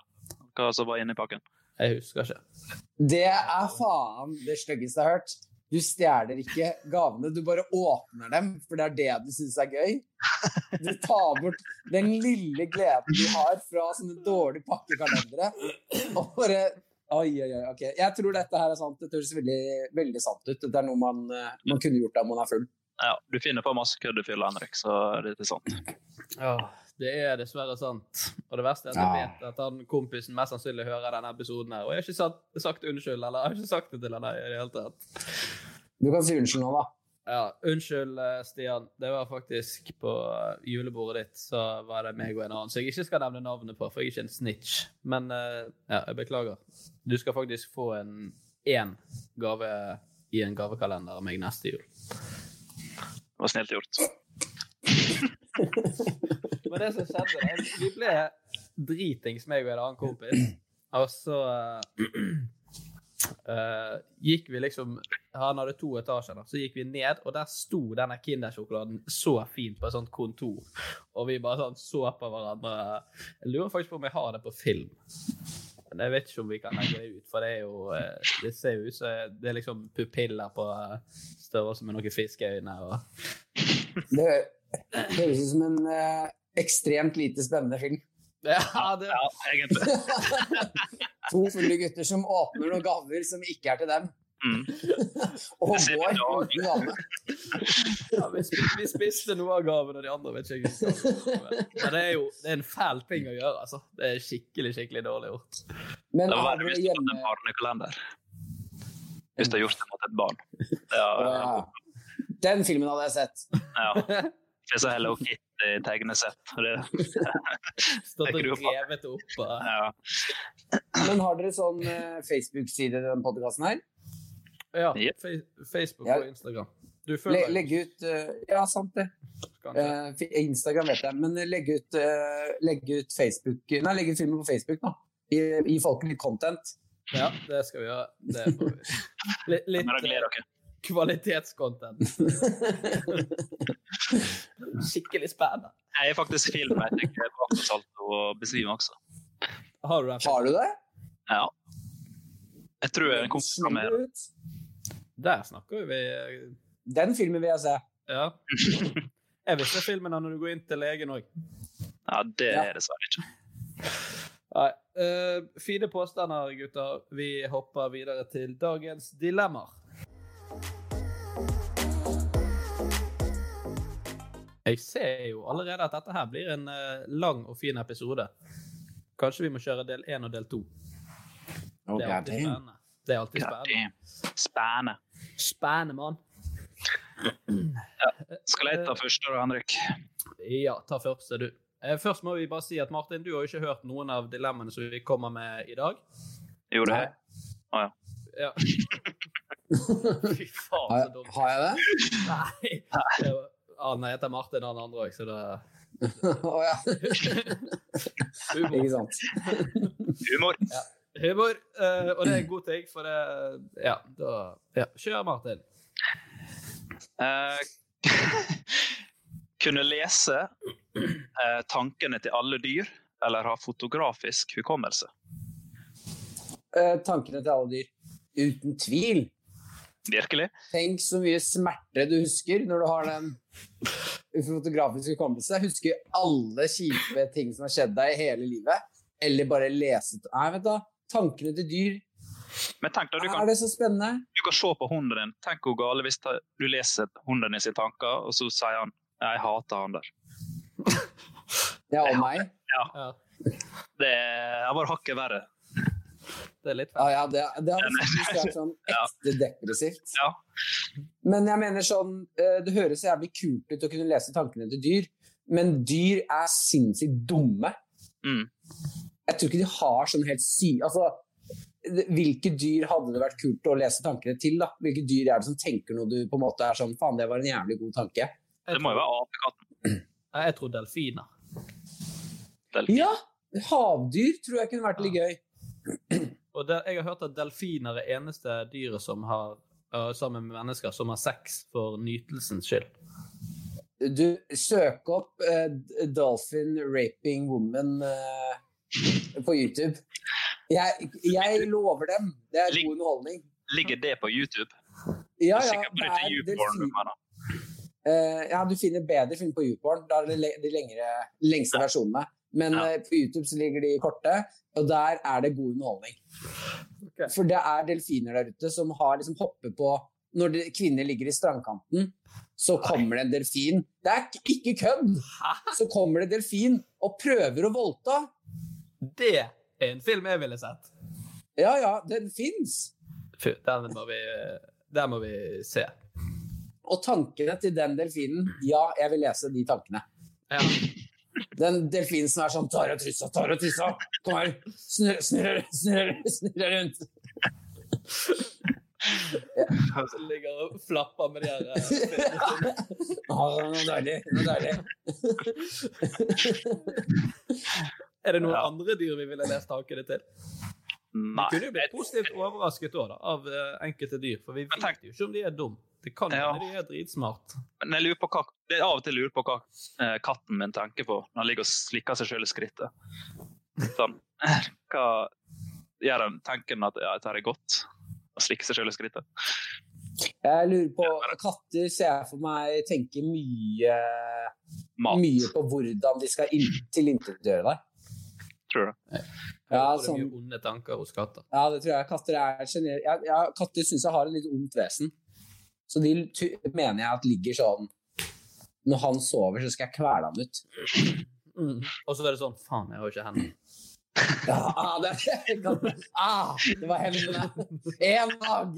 Speaker 8: Hva som var inni pakken?
Speaker 7: Jeg husker ikke.
Speaker 3: Det er faen det styggeste jeg har hørt. Du stjeler ikke gavene, du bare åpner dem, for det er det du syns er gøy. Du tar bort den lille gleden du har fra sånne dårlige pakkekalendere. Og bare Oi, oi, oi. ok. Jeg tror dette her er sant. Det høres veldig, veldig sant ut. Det er noe man, eh, man kunne gjort da man er full.
Speaker 8: Ja, du finner på masse kødd i fylla, Henrik, så dette er sånn. sant.
Speaker 7: Ja, det er dessverre sant. Og det verste er at jeg vet at han kompisen mest sannsynlig hører denne episoden her. Og jeg har ikke sagt, sagt unnskyld, eller jeg har ikke sagt det til henne i det hele tatt.
Speaker 3: Du kan si unnskyld nå, da.
Speaker 7: Ja, unnskyld, eh, Stian. Det var faktisk på eh, julebordet ditt, så var det meg og en annen. Så jeg ikke skal nevne navnet på, for jeg er ikke en snitch. Men eh, ja, jeg beklager. Du skal faktisk få en én gave i en gavekalender av meg neste jul.
Speaker 8: Det var snilt gjort.
Speaker 7: Men det som skjedde, da, vi ble dritings, meg og en annen kompis. Og så eh, eh, gikk vi liksom Han hadde to etasjer, da. Så gikk vi ned, og der sto denne Kindersjokoladen så fint på et sånt kontor. Og vi bare sånn så på hverandre. Jeg lurer faktisk på om jeg har det på film. Men jeg vet ikke om vi kan legge det ut, for det er jo eh, Det ser jo ut som det er liksom pupiller på eh, størrelse med noen fiskeøyne og
Speaker 3: Det hø- høres ut som en eh, ekstremt lite spennende film.
Speaker 7: *laughs* Ja, det...
Speaker 8: egentlig.
Speaker 3: To fulle gutter som åpner noen gaver som ikke er til dem.
Speaker 8: Mm.
Speaker 3: *laughs* Og går uten gave.
Speaker 7: Ja, vi, sp- vi spiste noe av gaven, og de andre vet ikke jeg Men det er jo det er en fæl ting å gjøre, altså. Det er skikkelig, skikkelig dårlig gjort.
Speaker 8: det var verre hvis du hadde en barnekalender. Hvis du hadde gjort det mot et barn. Ja,
Speaker 3: Den filmen hadde jeg sett.
Speaker 8: ja. Jeg så Hello Kitty-tegnesett. og Det
Speaker 7: Stått og revet det opp. og-
Speaker 3: Men har dere sånn eh, Facebook-side i denne podkasten her?
Speaker 7: Ja, fe- Facebook
Speaker 3: Ja.
Speaker 7: og Instagram.
Speaker 3: Le,
Speaker 7: Du følger
Speaker 3: legge ut eh, Ja, sant det. Eh, fi- Instagram vet jeg, men legge ut, eh, legge ut Facebook Nei, legge ut filmen på Facebook, da. Gi- Gi folk litt
Speaker 7: *laughs*
Speaker 3: content.
Speaker 7: Ja, det skal vi gjøre. Det får vi. Litt, litt eh, kvalitetscontent. Skikkelig spennende.
Speaker 8: Jeg er faktisk film, jeg tenker jeg bak på salto og besvimer også.
Speaker 7: Har du det?
Speaker 3: Har du det?
Speaker 8: Ja. Jeg tror jeg kom fram med det.
Speaker 7: Der snakker vi eh,
Speaker 3: Den filmen vil jeg se.
Speaker 7: Ja. Jeg vil se filmen når du går inn til legen òg.
Speaker 8: Ja, det er dessverre ikke.
Speaker 7: Nei. eh, fine påstander, gutter. Vi hopper videre til dagens dilemmaer. Jeg ser jo allerede at dette her blir en eh, lang og fin episode. Kanskje vi må kjøre del én og del to. det er alltid spennende. Det er alltid spennende.
Speaker 8: Spennende.
Speaker 7: Spennende, mann.
Speaker 8: Skal jeg ta første, da, Henrik?
Speaker 7: Ja, ta første, du. Eh, Først må vi bare si at Martin, du har jo ikke hørt noen av dilemmaene som vi kommer med i dag.
Speaker 8: Jo, det har jeg. Å ja.
Speaker 7: Ja. *laughs* Fy faen, så dumt.
Speaker 3: Har jeg det?
Speaker 7: Nei. Det var- Ah, nei, jeg heter Martin, han andre òg, så det
Speaker 3: Å
Speaker 8: *laughs*
Speaker 3: ja. Ikke sant.
Speaker 8: Humor.
Speaker 7: Humor. eh, og det er en god ting, for det Ja, da ja. Kjør, Martin.
Speaker 8: Eh, *laughs* kunne lese eh, tankene til alle dyr, eller ha fotografisk hukommelse?
Speaker 3: Eh, tankene til alle dyr. Uten tvil.
Speaker 8: Virkelig?
Speaker 3: Tenk så mye smerte du husker når du har den fotografiske hukommelse. Husker alle kjipe ting som har skjedd deg i hele livet. Eller bare lese Nei, vet du, tankene til dyr.
Speaker 8: Men tenk da, du
Speaker 3: Er
Speaker 8: kan,
Speaker 3: det så spennende?
Speaker 8: du kan se på hunden din. Tenk hvor gale hvis ta- du leser hunden i sine tanker, og så sier han 'jeg hater han der'.
Speaker 3: Ja, og meg.
Speaker 8: Ja. Det er bare hakket verre.
Speaker 7: Det er litt
Speaker 3: Ja, ja, det, det hadde faktisk vært
Speaker 8: *laughs*
Speaker 3: sånn ekte depressivt. Men jeg mener sånn, eh, det høres så jævlig kult ut å kunne lese tankene til dyr, men dyr er sinnssykt dumme. Jeg tror ikke de har sånn helt sy... Altså, det- hvilke dyr hadde det vært kult å lese tankene til, da? Hvilke dyr er det som tenker når du på en måte er sånn, faen, det var en jævlig god tanke.
Speaker 8: Det må jo være apekatten.
Speaker 7: Nei, Jeg tror delfiner.
Speaker 3: Ja, havdyr tror jeg kunne vært litt gøy.
Speaker 7: Og det, jeg har hørt at delfiner er eneste dyret som har eh, sammen med mennesker som har sex for nytelsens skyld.
Speaker 3: Du, søk opp eh, Dolphin Raping Woman eh, på YouTube. Jeg, jeg lover dem. Det er god underholdning.
Speaker 8: Ligger det på YouTube?
Speaker 3: Ja,
Speaker 8: Det er
Speaker 3: ja,
Speaker 8: sikkert
Speaker 3: det
Speaker 8: bare
Speaker 3: er
Speaker 8: til YouPorn,
Speaker 3: delfin-
Speaker 8: mener.
Speaker 3: Eh, ja, du finner bedre film på YouPorn. Da er det le- de lengre, lengste versjonene. Men eh, på YouTube så ligger de korte, og der er det god underholdning. For det er delfiner der ute som har liksom hoppet på Når de, kvinner ligger i strandkanten, så kommer det en delfin. Det er k- ikke kødd! Så kommer det delfin og prøver å voldta.
Speaker 7: Det er en film jeg ville sett.
Speaker 3: Ja, ja, den fins.
Speaker 7: Fy, Den må vi, den må vi se.
Speaker 3: Og tankene til den delfinen Ja, jeg vil lese de tankene.
Speaker 7: Ja.
Speaker 3: Den delfinen som er sånn Tar og tissa, tar og tissa. Kom her. Snurr, snurr, snurr, snurr rundt.
Speaker 7: Som ligger og flapper med de her eh,
Speaker 3: Å, det var deilig. Det var deilig.
Speaker 7: Er det noen andre dyr vi ville lest tankene til? Vi
Speaker 8: Nei.
Speaker 7: kunne jo blitt positivt overrasket også, da, av eh, enkelte dyr, for vi vet jo ikke om de er dumme. Det kan hende de er dritsmart.
Speaker 8: Men jeg lurer på hva, det er av og til jeg lurer på hva eh, katten min tenker på når han ligger og slikker seg sjøl i skrittet. Sånn. Hva gjør han? Tenker han at ja, dette her er godt? Å slikke seg sjøl i skrittet?
Speaker 3: Jeg lurer på Katter ser jeg for meg tenker mye Mye på hvordan de skal in- tilintetgjøre deg.
Speaker 8: Tror du
Speaker 3: Ja,
Speaker 7: det? Ja, sånn.
Speaker 3: sånn,
Speaker 7: Mye onde tanker hos katter.
Speaker 3: ja, det tror jeg. Katter er gener- ja, ja, Katter syns jeg har et litt ondt vesen. Så de tu- mener jeg at ligger sånn Når han sover, så skal jeg kvele ham ut. Mm.
Speaker 7: Og så er det sånn Faen, jeg har jo ikke hender.
Speaker 3: Ah, det, ah, det var hendene! Én dag!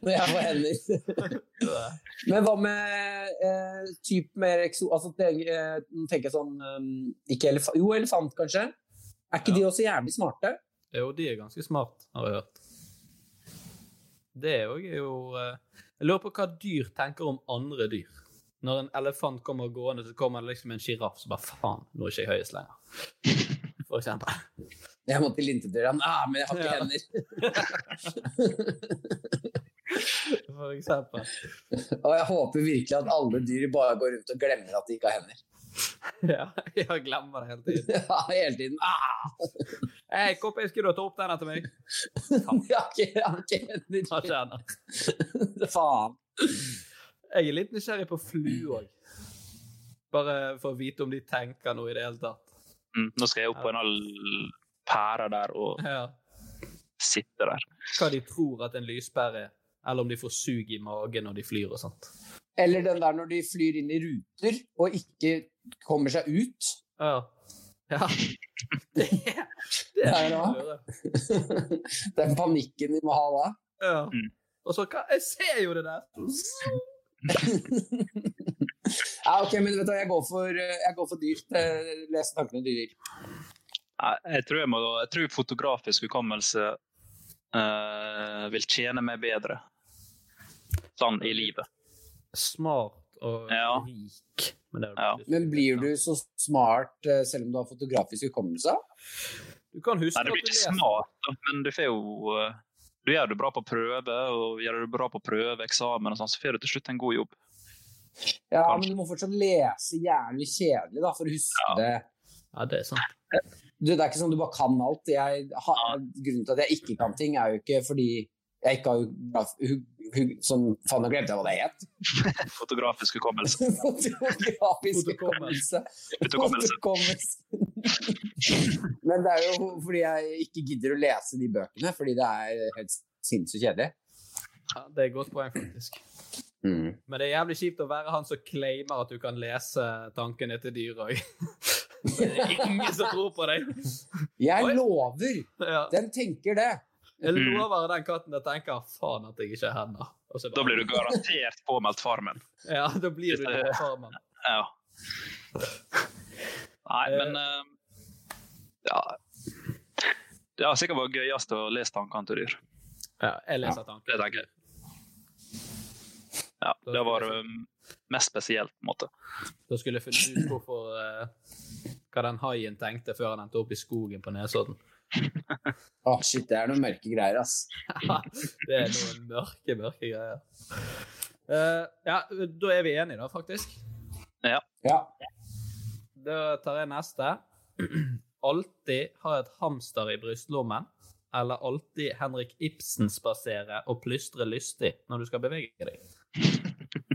Speaker 3: Når jeg får hender. Men hva med eh, typ mer ekso... Altså, det, eh, nå tenker jeg sånn um, ikke elefant, Jo, elefant, kanskje? Er ikke de også jævlig smarte?
Speaker 7: Jo, de er ganske smart, har jeg hørt. Det òg er jo eh, Jeg lurer på hva dyr tenker om andre dyr. Når en elefant kommer gående, så kommer det liksom en sjiraff som bare Faen, nå er ikke jeg høyest lenger. For eksempel.
Speaker 3: Jeg må til intetann. Ah, men jeg har ikke
Speaker 7: Ja.
Speaker 3: hender.
Speaker 7: For eksempel. *laughs*
Speaker 3: Og jeg håper virkelig at alle dyr bare går rundt og glemmer at de ikke har hender.
Speaker 7: Ja, jeg glemmer det hele tiden.
Speaker 3: *laughs* Ja, hele tiden. Ah!
Speaker 7: Hei, Koppe, skulle du ta opp denne til meg?
Speaker 3: Jeg har ikke- jeg har ikke hender.
Speaker 7: Ta ikke henne.
Speaker 3: *laughs* Faen.
Speaker 7: Jeg er litt nysgjerrig på flue òg. Bare for å vite om de tenker noe i det hele tatt.
Speaker 8: Mm, nå skal jeg opp på en all pære der og
Speaker 7: Ja.
Speaker 8: sitte der.
Speaker 7: Hva de tror at en lyspære er, eller om de får sug i magen når de flyr og sånt.
Speaker 3: Eller den der når de flyr inn i ruter og ikke kommer seg ut. *laughs*
Speaker 7: Ja. ja. *laughs*
Speaker 3: Det er
Speaker 7: er
Speaker 3: bra. Den panikken de må ha da.
Speaker 7: Ja.
Speaker 8: Mm.
Speaker 7: Og så hva Jeg ser jo det der!
Speaker 3: Ja, ok, men vet du, hva, jeg går for, jeg går for dyrt. Eh, Les tankene dyr.
Speaker 8: Nei, Jeg tror, jeg må, jeg tror fotografisk hukommelse eh, vil tjene meg bedre sånn i livet.
Speaker 7: Smart og
Speaker 8: Ja.
Speaker 7: rik. Men det er jo litt-
Speaker 3: Men blir du så smart eh, selv om du har fotografisk hukommelse?
Speaker 7: Du kan huske
Speaker 8: Nei, det blir
Speaker 7: at du
Speaker 8: ikke
Speaker 7: leser.
Speaker 8: smart, da, men du får jo eh, Du gjør det bra på prøve, og gjør du bra på prøve, eksamen og sånn, så får du til slutt en god jobb.
Speaker 3: Ja, men du må fortsatt lese jævlig kjedelig da, for å huske det.
Speaker 7: Ja, det er sant.
Speaker 3: Du, det er ikke sånn du bare kan alt. Jeg har, grunnen til at jeg ikke kan ting, er jo ikke fordi jeg ikke har hu- hu- hu- Sånn, faen, nå glemte jeg hva det het. *laughs*
Speaker 8: Fotografisk hukommelse.
Speaker 3: Fotografisk hukommelse. Fotokommelse. Men det er jo fordi jeg ikke gidder å lese de bøkene, fordi det er helt sinnssykt kjedelig.
Speaker 7: Ja, det er et godt poeng, faktisk. Men det er jævlig kjipt å være han som claimer at du kan lese tankene til dyr òg. *laughs* Det er ingen som tror på deg.
Speaker 3: Jeg lover!
Speaker 7: Ja.
Speaker 3: Den tenker det.
Speaker 7: Jeg
Speaker 8: Mm.
Speaker 7: lover den katten der tenker 'faen at jeg ikke har hender'. Og så bare-
Speaker 8: Da blir du garantert påmeldt Farmen.
Speaker 7: Ja, da blir du det på farmen.
Speaker 8: Ja. Nei, men eh, Ja. Det har sikkert vært gøyest å lese tankene til dyr.
Speaker 7: Ja, jeg leser tanker.
Speaker 8: Det tenker jeg. Ja, det var eh, mest spesielt, på en måte.
Speaker 7: Da skulle jeg funnet ut hvorfor eh, hva den haien tenkte før han endte opp i skogen på Nesodden. *laughs*
Speaker 3: Å, shit, det er noen mørke greier, ass.
Speaker 7: Det er noen mørke, mørke greier. Eh, ja, da er vi enige, da, faktisk.
Speaker 8: Ja.
Speaker 7: Da tar jeg neste. *clears throat* Alltid ha et hamster i brystlommen, eller alltid Henrik Ibsen spasere og plystre lystig når du skal bevege deg.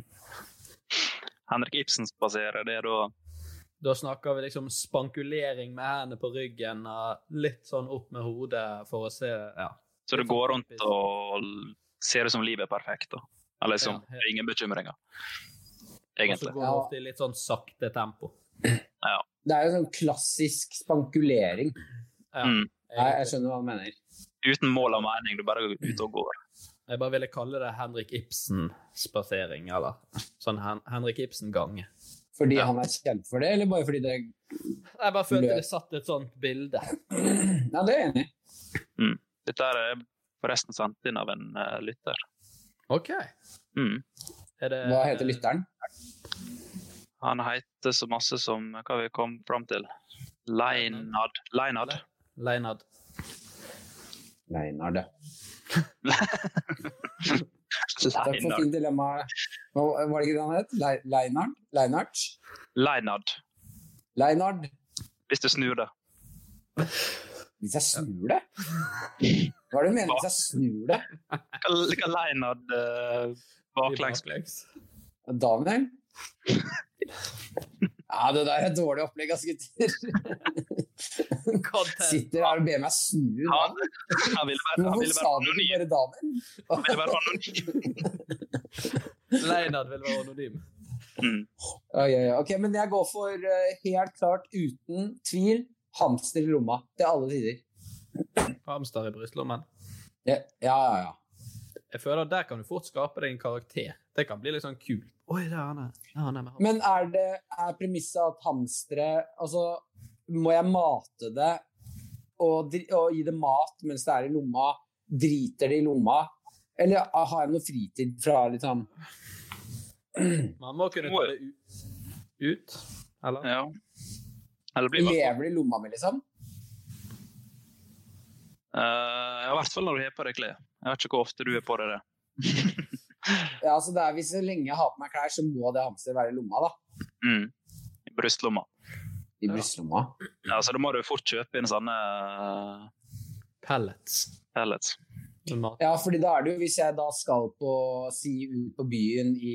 Speaker 8: Henrik Ibsen spaserer, det er da
Speaker 7: Da snakker vi liksom spankulering med hendene på ryggen og litt sånn opp med hodet for å se Ja.
Speaker 8: Så du går rundt og ser ut som livet er perfekt, da. Eller som
Speaker 7: Ja,
Speaker 8: ingen bekymringer.
Speaker 7: Og så
Speaker 8: Egentlig.
Speaker 7: går det ofte i litt sånn sakte tempo.
Speaker 8: Ja.
Speaker 3: Det er jo sånn klassisk spankulering.
Speaker 8: Mm.
Speaker 3: Nei, jeg skjønner hva du mener.
Speaker 8: Uten mål og mening, du bare går ut og går.
Speaker 7: Jeg bare ville kalle det Henrik Ibsen-spasering, eller sånn Hen Henrik Ibsen-gange.
Speaker 3: Fordi han er kjent for det, eller bare fordi det *clears throat*
Speaker 7: Jeg bare følte det satt et sånt bilde.
Speaker 3: Ja, det er jeg enig i.
Speaker 8: Mm. Dette her er forresten sendt inn av en eh, lytter.
Speaker 7: OK.
Speaker 8: Mm.
Speaker 7: Er det
Speaker 3: Hva heter lytteren?
Speaker 8: Han heter så masse som Hva vi kom fram til? Leinad. Leinad.
Speaker 7: Leinad.
Speaker 3: Leinard, Takk for fint dilemma. Hva var det ikke det han het? Le- Leinard? Leinart?
Speaker 8: Leinad.
Speaker 3: Leinard?
Speaker 8: Hvis du snur det.
Speaker 3: Hvis jeg snur det? Hva er det du mener hvis jeg snur det?
Speaker 8: Hva leinad baklengs?
Speaker 3: Daniel? Ja, det der er et dårlig opplegg, ass, gutter. Sitter her og ber meg snu. da.
Speaker 8: Han ville være, han
Speaker 3: Hvorfor
Speaker 8: ville
Speaker 3: sa
Speaker 8: være
Speaker 3: du ikke
Speaker 8: anonym.
Speaker 3: bare Daniel?
Speaker 8: Han ville være anonym.
Speaker 7: Leinad vil være anonym.
Speaker 3: Ja, ja, ja. Ok, men jeg går for eh, helt klart, uten tvil, hamster i lomma til alle tider.
Speaker 7: Hamster i brystlommen.
Speaker 3: Ja, ja, ja.
Speaker 7: Jeg føler at Der kan du fort skape deg en karakter. Det kan bli litt sånn kult. Oi, der er han der. Der er han der med ham-
Speaker 3: Men er, det, er premisset at hamstere Altså, må jeg mate det og, dri- og gi det mat mens det er i lomma? Driter det i lomma? Eller ah, har jeg noe fritid fra liksom
Speaker 7: Man må kunne ta det ut. Ut? Eller?
Speaker 8: Ja. Eller blir i hvert fall.
Speaker 3: Lever det i lomma mi, liksom?
Speaker 8: Eh, ja, I hvert fall når du har på deg klær. Jeg vet ikke hvor ofte du har på deg det.
Speaker 3: *laughs* Ja, altså det er Hvis så lenge jeg har på meg klær, så må det hamsteret være i lomma, da.
Speaker 8: Mm. I brystlomma.
Speaker 3: I brystlomma?
Speaker 8: Ja, så da må du fort kjøpe inn sånne eh,
Speaker 7: Pellets.
Speaker 8: Pellets.
Speaker 3: Ja, fordi da er det jo hvis jeg da skal på si ut på byen i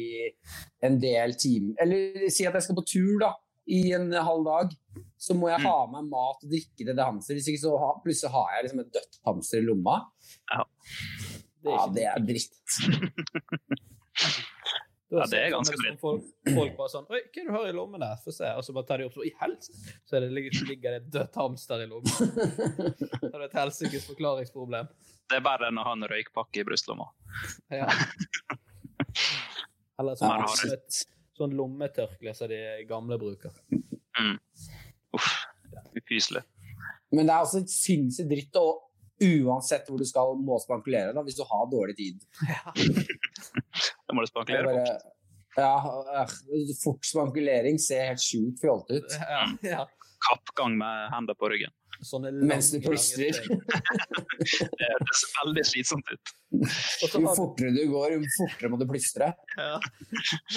Speaker 3: en del timer Eller si at jeg skal på tur, da, i en halv dag. Så må jeg ha med mat og drikke til det hamsteret. Hvis ikke så ha, plutselig har jeg liksom et dødt hamster i lomma.
Speaker 8: Ja,
Speaker 3: det er, dritt.
Speaker 8: Ja, det er
Speaker 7: Sånn
Speaker 8: ganske
Speaker 7: som
Speaker 8: dritt.
Speaker 7: Folk, folk bare sånn Oi, hva er det du har i lommen der? Få se. Og så bare tar de opp så I helsike! Så er det, ligger, ligger det et dødt hamster i *laughs* lommen. Så er det et helsikes forklaringsproblem.
Speaker 8: Det er verre enn å ha en røykpakke i brystlomma.
Speaker 7: *laughs* Ja. Eller
Speaker 8: Ja,
Speaker 7: sånn,
Speaker 8: det har
Speaker 7: sånn, et, sånn lommetørkle som de gamle bruker.
Speaker 8: Mm. Uff. Ufyselig.
Speaker 3: Men det er altså sinnssykt dritt å uansett hvor du skal, må spankulere da, hvis du har dårlig tid.
Speaker 8: Da
Speaker 3: Det
Speaker 8: må du
Speaker 3: er
Speaker 8: spankulere
Speaker 3: bare,
Speaker 8: fort.
Speaker 3: ja, øh, Fort spankulering ser helt sjukt fjollete *laughs* ut.
Speaker 8: Kappgang med hendene på ryggen.
Speaker 3: Mens du plystrer. *laughs*
Speaker 8: Det høres veldig slitsomt ut.
Speaker 3: Jo fortere du går, jo fortere må du plystre.
Speaker 7: Ja.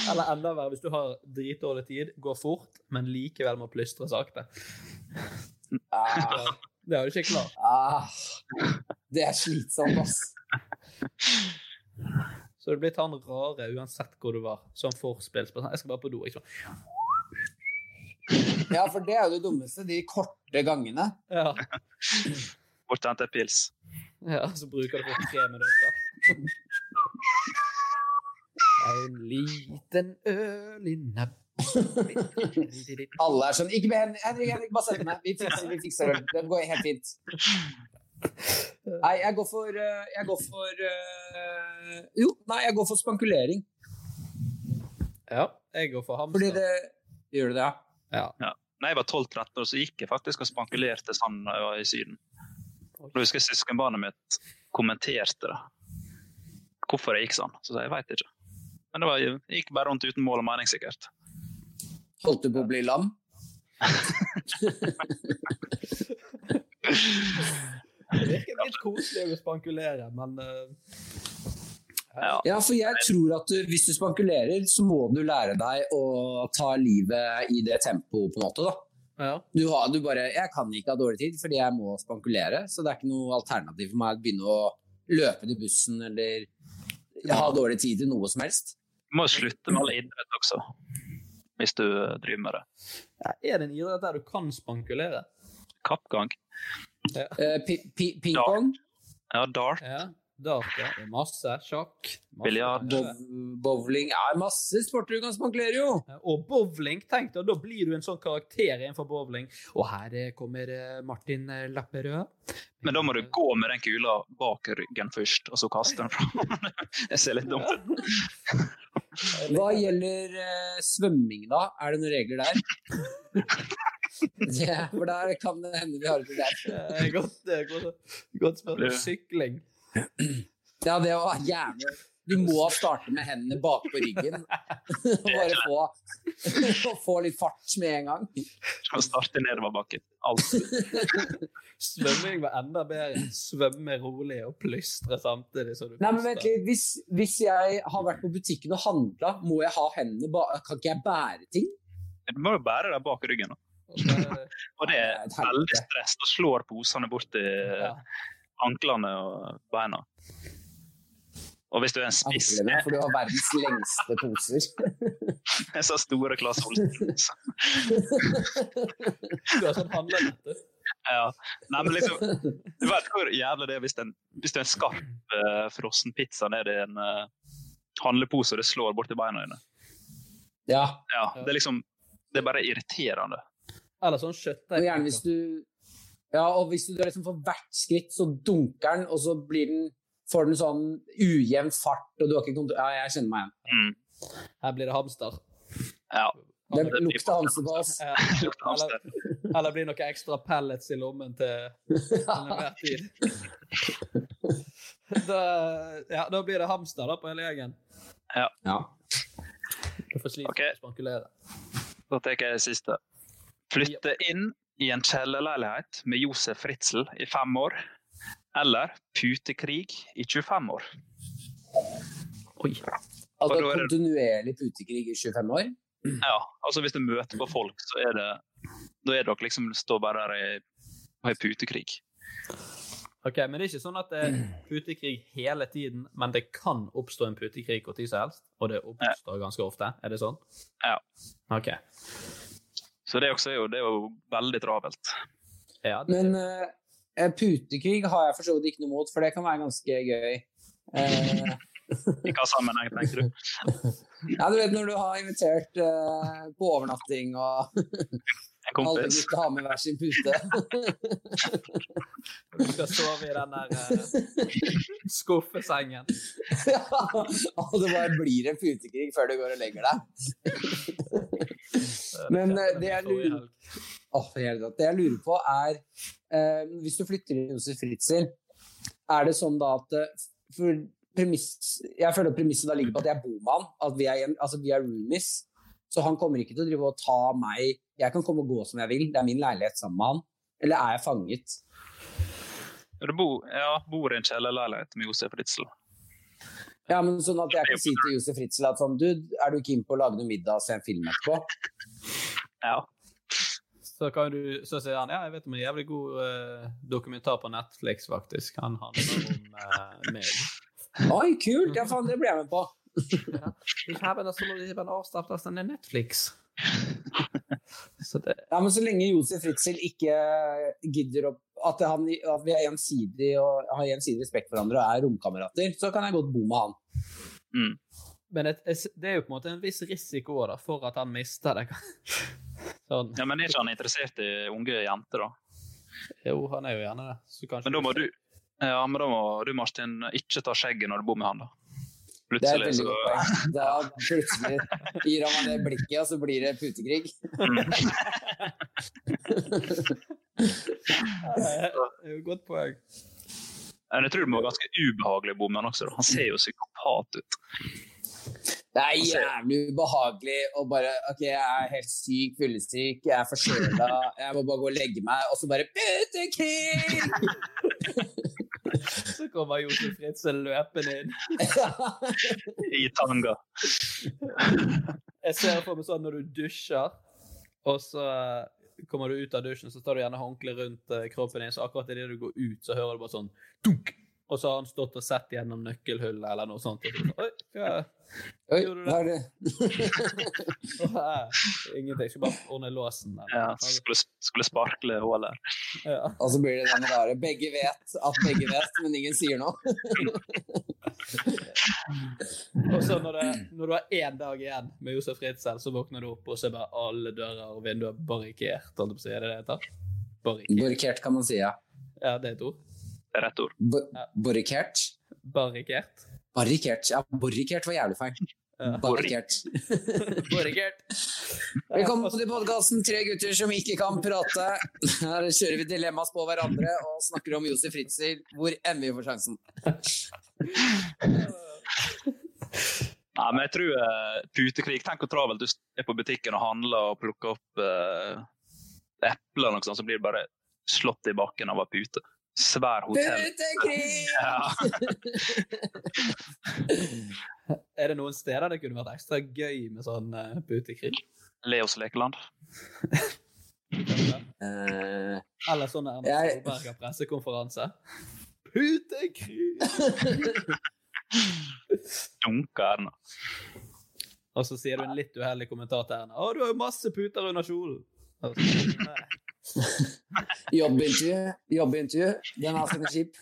Speaker 7: Eller enda verre, hvis du har dritdårlig tid, går fort, men likevel må plystre sakte.
Speaker 3: Ah.
Speaker 7: Det har du ikke klart.
Speaker 3: Ah, det er slitsomt, ass.
Speaker 7: Så det blir blitt han rare uansett hvor du var, som forspill. Sånn, Jeg skal bare på do. Ikke sant?
Speaker 3: Ja, for det er jo det dummeste. De korte gangene.
Speaker 7: Ja.
Speaker 8: Bort og hente en pils.
Speaker 7: ja, så bruker du for tre minutter. En liten øl i nebbet
Speaker 3: *laughs* Alle er sånn Ikke med Henrik, Henrik, Henrik bare sett meg. Vi fikser, vi fikser øl. Det går helt fint. Nei, jeg går for eh, Jeg går for eh, Jo, nei, jeg går for spankulering.
Speaker 7: Ja, jeg går for hamster.
Speaker 3: Fordi det Gjør du det, ja?
Speaker 8: Ja. Når jeg var 12-13 år, så gikk jeg faktisk og spankulerte sånn når jeg var i Syden. Da husker jeg søskenbarnet mitt kommenterte det. Hvorfor jeg gikk sånn. Så sa jeg, jeg veit ikke. Men det var, jeg gikk bare rundt uten mål og mening, sikkert.
Speaker 3: Holdt du på å bli lam?
Speaker 7: Det virker litt koselig å spankulere, men eh,
Speaker 3: Ja, for jeg tror at du, hvis du spankulerer, så må du lære deg å ta livet i det tempoet, på en måte, da. Du, har, du bare Jeg kan ikke ha dårlig tid fordi jeg må spankulere, så det er ikke noe alternativ for meg å begynne å løpe til bussen eller ha dårlig tid til noe som helst.
Speaker 8: Du må jo slutte med all idrett også, hvis du eh, driver med det.
Speaker 7: er det en idrett der du kan spankulere?
Speaker 8: Kappgang.
Speaker 3: Eh, pi- pi- Pingpong,
Speaker 8: Ja, dart.
Speaker 7: Ja, dart, ja. Det er masse. Sjakk. masse
Speaker 8: Biljard.
Speaker 7: spankulere.
Speaker 3: bov- bowling Ja, masse sporter du kan spankulere, jo!
Speaker 7: Eh, Og bowling, tenk deg, da blir du en sånn karakter innenfor bowling. Og her eh, kommer eh, Martin eh, Lapperød. Eh,
Speaker 8: Men da må du gå med den kula bak ryggen først, og så kaste den fra. *laughs* Det ser litt dumt ut.
Speaker 3: Hva gjelder eh, svømming, da? Er det noen regler der? Det, for der kan det hende vi har et problem.
Speaker 7: Eh, Godt, eh, godt,
Speaker 3: Ja.
Speaker 7: godt spørsmål. Sykling.
Speaker 3: Ja, det var jævlig. Du må starte med hendene bakpå ryggen. Og bare få, og *laughs* få litt fart med en gang.
Speaker 8: Skal starte nedover bakken. Alltid.
Speaker 7: Svømming var enda bedre. Svømme rolig og plystre samtidig som du
Speaker 3: Nei, men vent litt. Hvis, hvis jeg har vært på butikken og handla, må jeg ha hendene ba Kan ikke jeg bære ting?
Speaker 8: Du må jo bære deg bak ryggen. da. Og det er veldig stress. Du slår posene bort i anklene og beina. Og hvis du er en spiss
Speaker 3: Anklene, for du har verdens lengste poser. *laughs*
Speaker 8: *laughs* Jeg sa store Claes Holsten.
Speaker 7: Du har sånn handlenette.
Speaker 8: Ja. Nei, men liksom, du vet hvor jævlig det er hvis det er en, hvis det er en skarp eh, frossen pizza ned i en eh, handlepose og det slår borti beina dine.
Speaker 3: Ja.
Speaker 8: Det er liksom Det er bare irriterende.
Speaker 7: Eller sånn kjøttdeig.
Speaker 3: Og gjerne hvis du Ja, og hvis du drar liksom for hvert skritt, så dunker den, og så blir den Får den sånn ujevn fart, og du har ikke kontroll Ja, jeg kjenner meg igjen.
Speaker 7: Her blir det hamster.
Speaker 8: Ja.
Speaker 3: Det lukter hamsterpass.
Speaker 7: Eller, Eh, eller blir noe ekstra pellets i lommen til til
Speaker 3: *laughs*
Speaker 7: enhver tid. Da, ja, da blir det hamster da på hele gjengen.
Speaker 8: Ja.
Speaker 7: Du får slite med å spankulere.
Speaker 8: Da tar jeg det siste. Flytte inn i en kjellerleilighet med Josef Fritzel i fem år. Eller putekrig i 25 år.
Speaker 3: Altså
Speaker 8: Og da er det-
Speaker 3: kontinuerlig putekrig i 25 år.
Speaker 8: Ja, altså hvis du møter på folk, så er det Da er dere liksom står bare der i, og har putekrig.
Speaker 7: Ok, Men det er ikke sånn at det er putekrig hele tiden, men det kan oppstå en putekrig når som helst, og det oppstår ganske ofte? Er det sånn?
Speaker 8: Ja.
Speaker 7: Ok.
Speaker 8: Så det, også er jo, det er jo veldig travelt.
Speaker 3: Men eh, putekrig har jeg for så vidt ikke noe mot, for det kan være ganske gøy. Eh, *laughs*
Speaker 8: I hva sammenheng, tenker du?
Speaker 3: ja, du vet når du har invitert eh, på overnatting og *laughs* alle
Speaker 8: kompis.
Speaker 3: gutta har med hver sin pute. *laughs*
Speaker 7: Du skal sove i den der
Speaker 3: *laughs*
Speaker 7: eh, skuffesengen.
Speaker 3: ja, og det bare blir en putekrig før du går og legger deg. Men eh, det jeg lurer, Åh, for hele tatt. det jeg lurer på, er eh, Hvis du flytter inn hos Fritzel, er det sånn da at eh, for premiss, Jeg føler at premisset da ligger på at jeg bor med han, at vi er, hjem- altså, vi er roomies. Så han kommer ikke til å drive og ta meg Jeg kan komme og gå som jeg vil, det er min leilighet sammen med han. Eller er jeg fanget?
Speaker 8: Du bor, ja, bor i en kjellerleilighet med Josef Ritzel.
Speaker 3: Ja, men sånn at jeg kan si til Josef Fritzel at sånn, du, er du keen på å lage noe middag og se en film etterpå?
Speaker 8: Ja.
Speaker 7: Så, kan du, så sier han ja, jeg vet om en jævlig god eh, dokumentar på Netflix, faktisk. Han handler om eh, meg.
Speaker 3: Oi, kult! Ja, faen, det blir jeg med på.
Speaker 7: It happened as soon as it avstopped us on the sånn Netflix. Så det...
Speaker 3: Ja, men så lenge Josef Fritzel ikke gidder opp at, han, at vi er gjensidig og har gjensidig respekt for hverandre og er romkamerater, så kan jeg godt bo med han.
Speaker 7: Men et, et, det er jo på en måte en viss risiko da, for at han mister det. *laughs* sånn.
Speaker 8: Ja, men er ikke han interessert i unge jenter, da?
Speaker 7: Jo, han er jo gjerne det. Så kanskje
Speaker 8: Men da må du, ja, men da må du Martin, ikke ta skjegget når du bor med han, da.
Speaker 3: Det er et
Speaker 8: Plutselig
Speaker 3: veldig
Speaker 8: så
Speaker 3: godt poeng.
Speaker 8: *laughs*
Speaker 3: Da plutselig gir han meg det blikket, og så blir det putekrig.
Speaker 7: *laughs*
Speaker 8: Mm.
Speaker 7: Ja, Det er jo et godt poeng.
Speaker 8: Men jeg tror det må være ganske ubehagelig å bo med han også. Da. Han ser jo psykopat ut.
Speaker 3: Det er jævlig ubehagelig å bare OK, jeg er helt syk, fyllesyk, jeg er forkjøla, jeg må bare gå og legge meg, og så bare Putekrig!
Speaker 7: Så kommer Josef Fritzel løpende inn.
Speaker 8: I tanga. *laughs*
Speaker 7: Jeg ser for meg sånn når du dusjer, og så eh, kommer du ut av dusjen, så tar du gjerne håndkleet rundt eh, kroppen din, så akkurat idet du går ut, så hører du bare sånn dunk! Og så har han stått og sett gjennom nøkkelhullet eller noe sånt. Og så, Oi, hva
Speaker 8: *laughs*
Speaker 3: Oi,
Speaker 7: gjorde du
Speaker 3: hva er
Speaker 7: der?
Speaker 3: det? *laughs*
Speaker 7: Ingenting. Jeg skal bare ordne låsen. der.
Speaker 8: Ja, skulle, skulle sparkle hålet.
Speaker 7: Ja.
Speaker 3: Og så blir det den rare Begge vet at begge vet, men ingen sier noe.
Speaker 7: Og så når, det, når du har én dag igjen med Josef Fritzel, så våkner du opp, og så er bare alle dører og vinduer barrikert. Holdt jeg på å si, er det det heter? Barrikert.
Speaker 3: Borikert kan man si, ja.
Speaker 7: Ja, det er et ord.
Speaker 8: Rett ord.
Speaker 3: Borikert?
Speaker 7: Barrikert.
Speaker 3: Barrikert. Ja, borrikert var jævlig feil. Barrikert.
Speaker 7: Borrikert.
Speaker 3: Velkommen til podkasten Tre gutter som ikke kan prate. Her kjører vi dilemmas på hverandre og snakker om Josef Fritzel hvor enn vi får sjansen.
Speaker 8: Nei, men jeg tror eh, putekrig Tenk hvor travelt du er på butikken og handler og plukker opp eh, epler og noe sånt, så blir du bare slått i bakken av ei pute. Svær hotell.
Speaker 3: Putekrig!
Speaker 7: Er det noen steder det kunne vært ekstra gøy med sånn uh, putekrig?
Speaker 8: Leos lekeland.
Speaker 3: Eh,
Speaker 7: Eller sånn Erna
Speaker 3: Jeg-
Speaker 7: Solberg har sånn pressekonferanse? Putekrig!
Speaker 8: Dunka Erna.
Speaker 7: Og så sier du en litt uheldig kommentar til Erna. 'Å, du har jo masse puter under kjolen'. Og så- Nei.
Speaker 3: Jobbintervju. Jobbintervju. Den er sikkert kjip.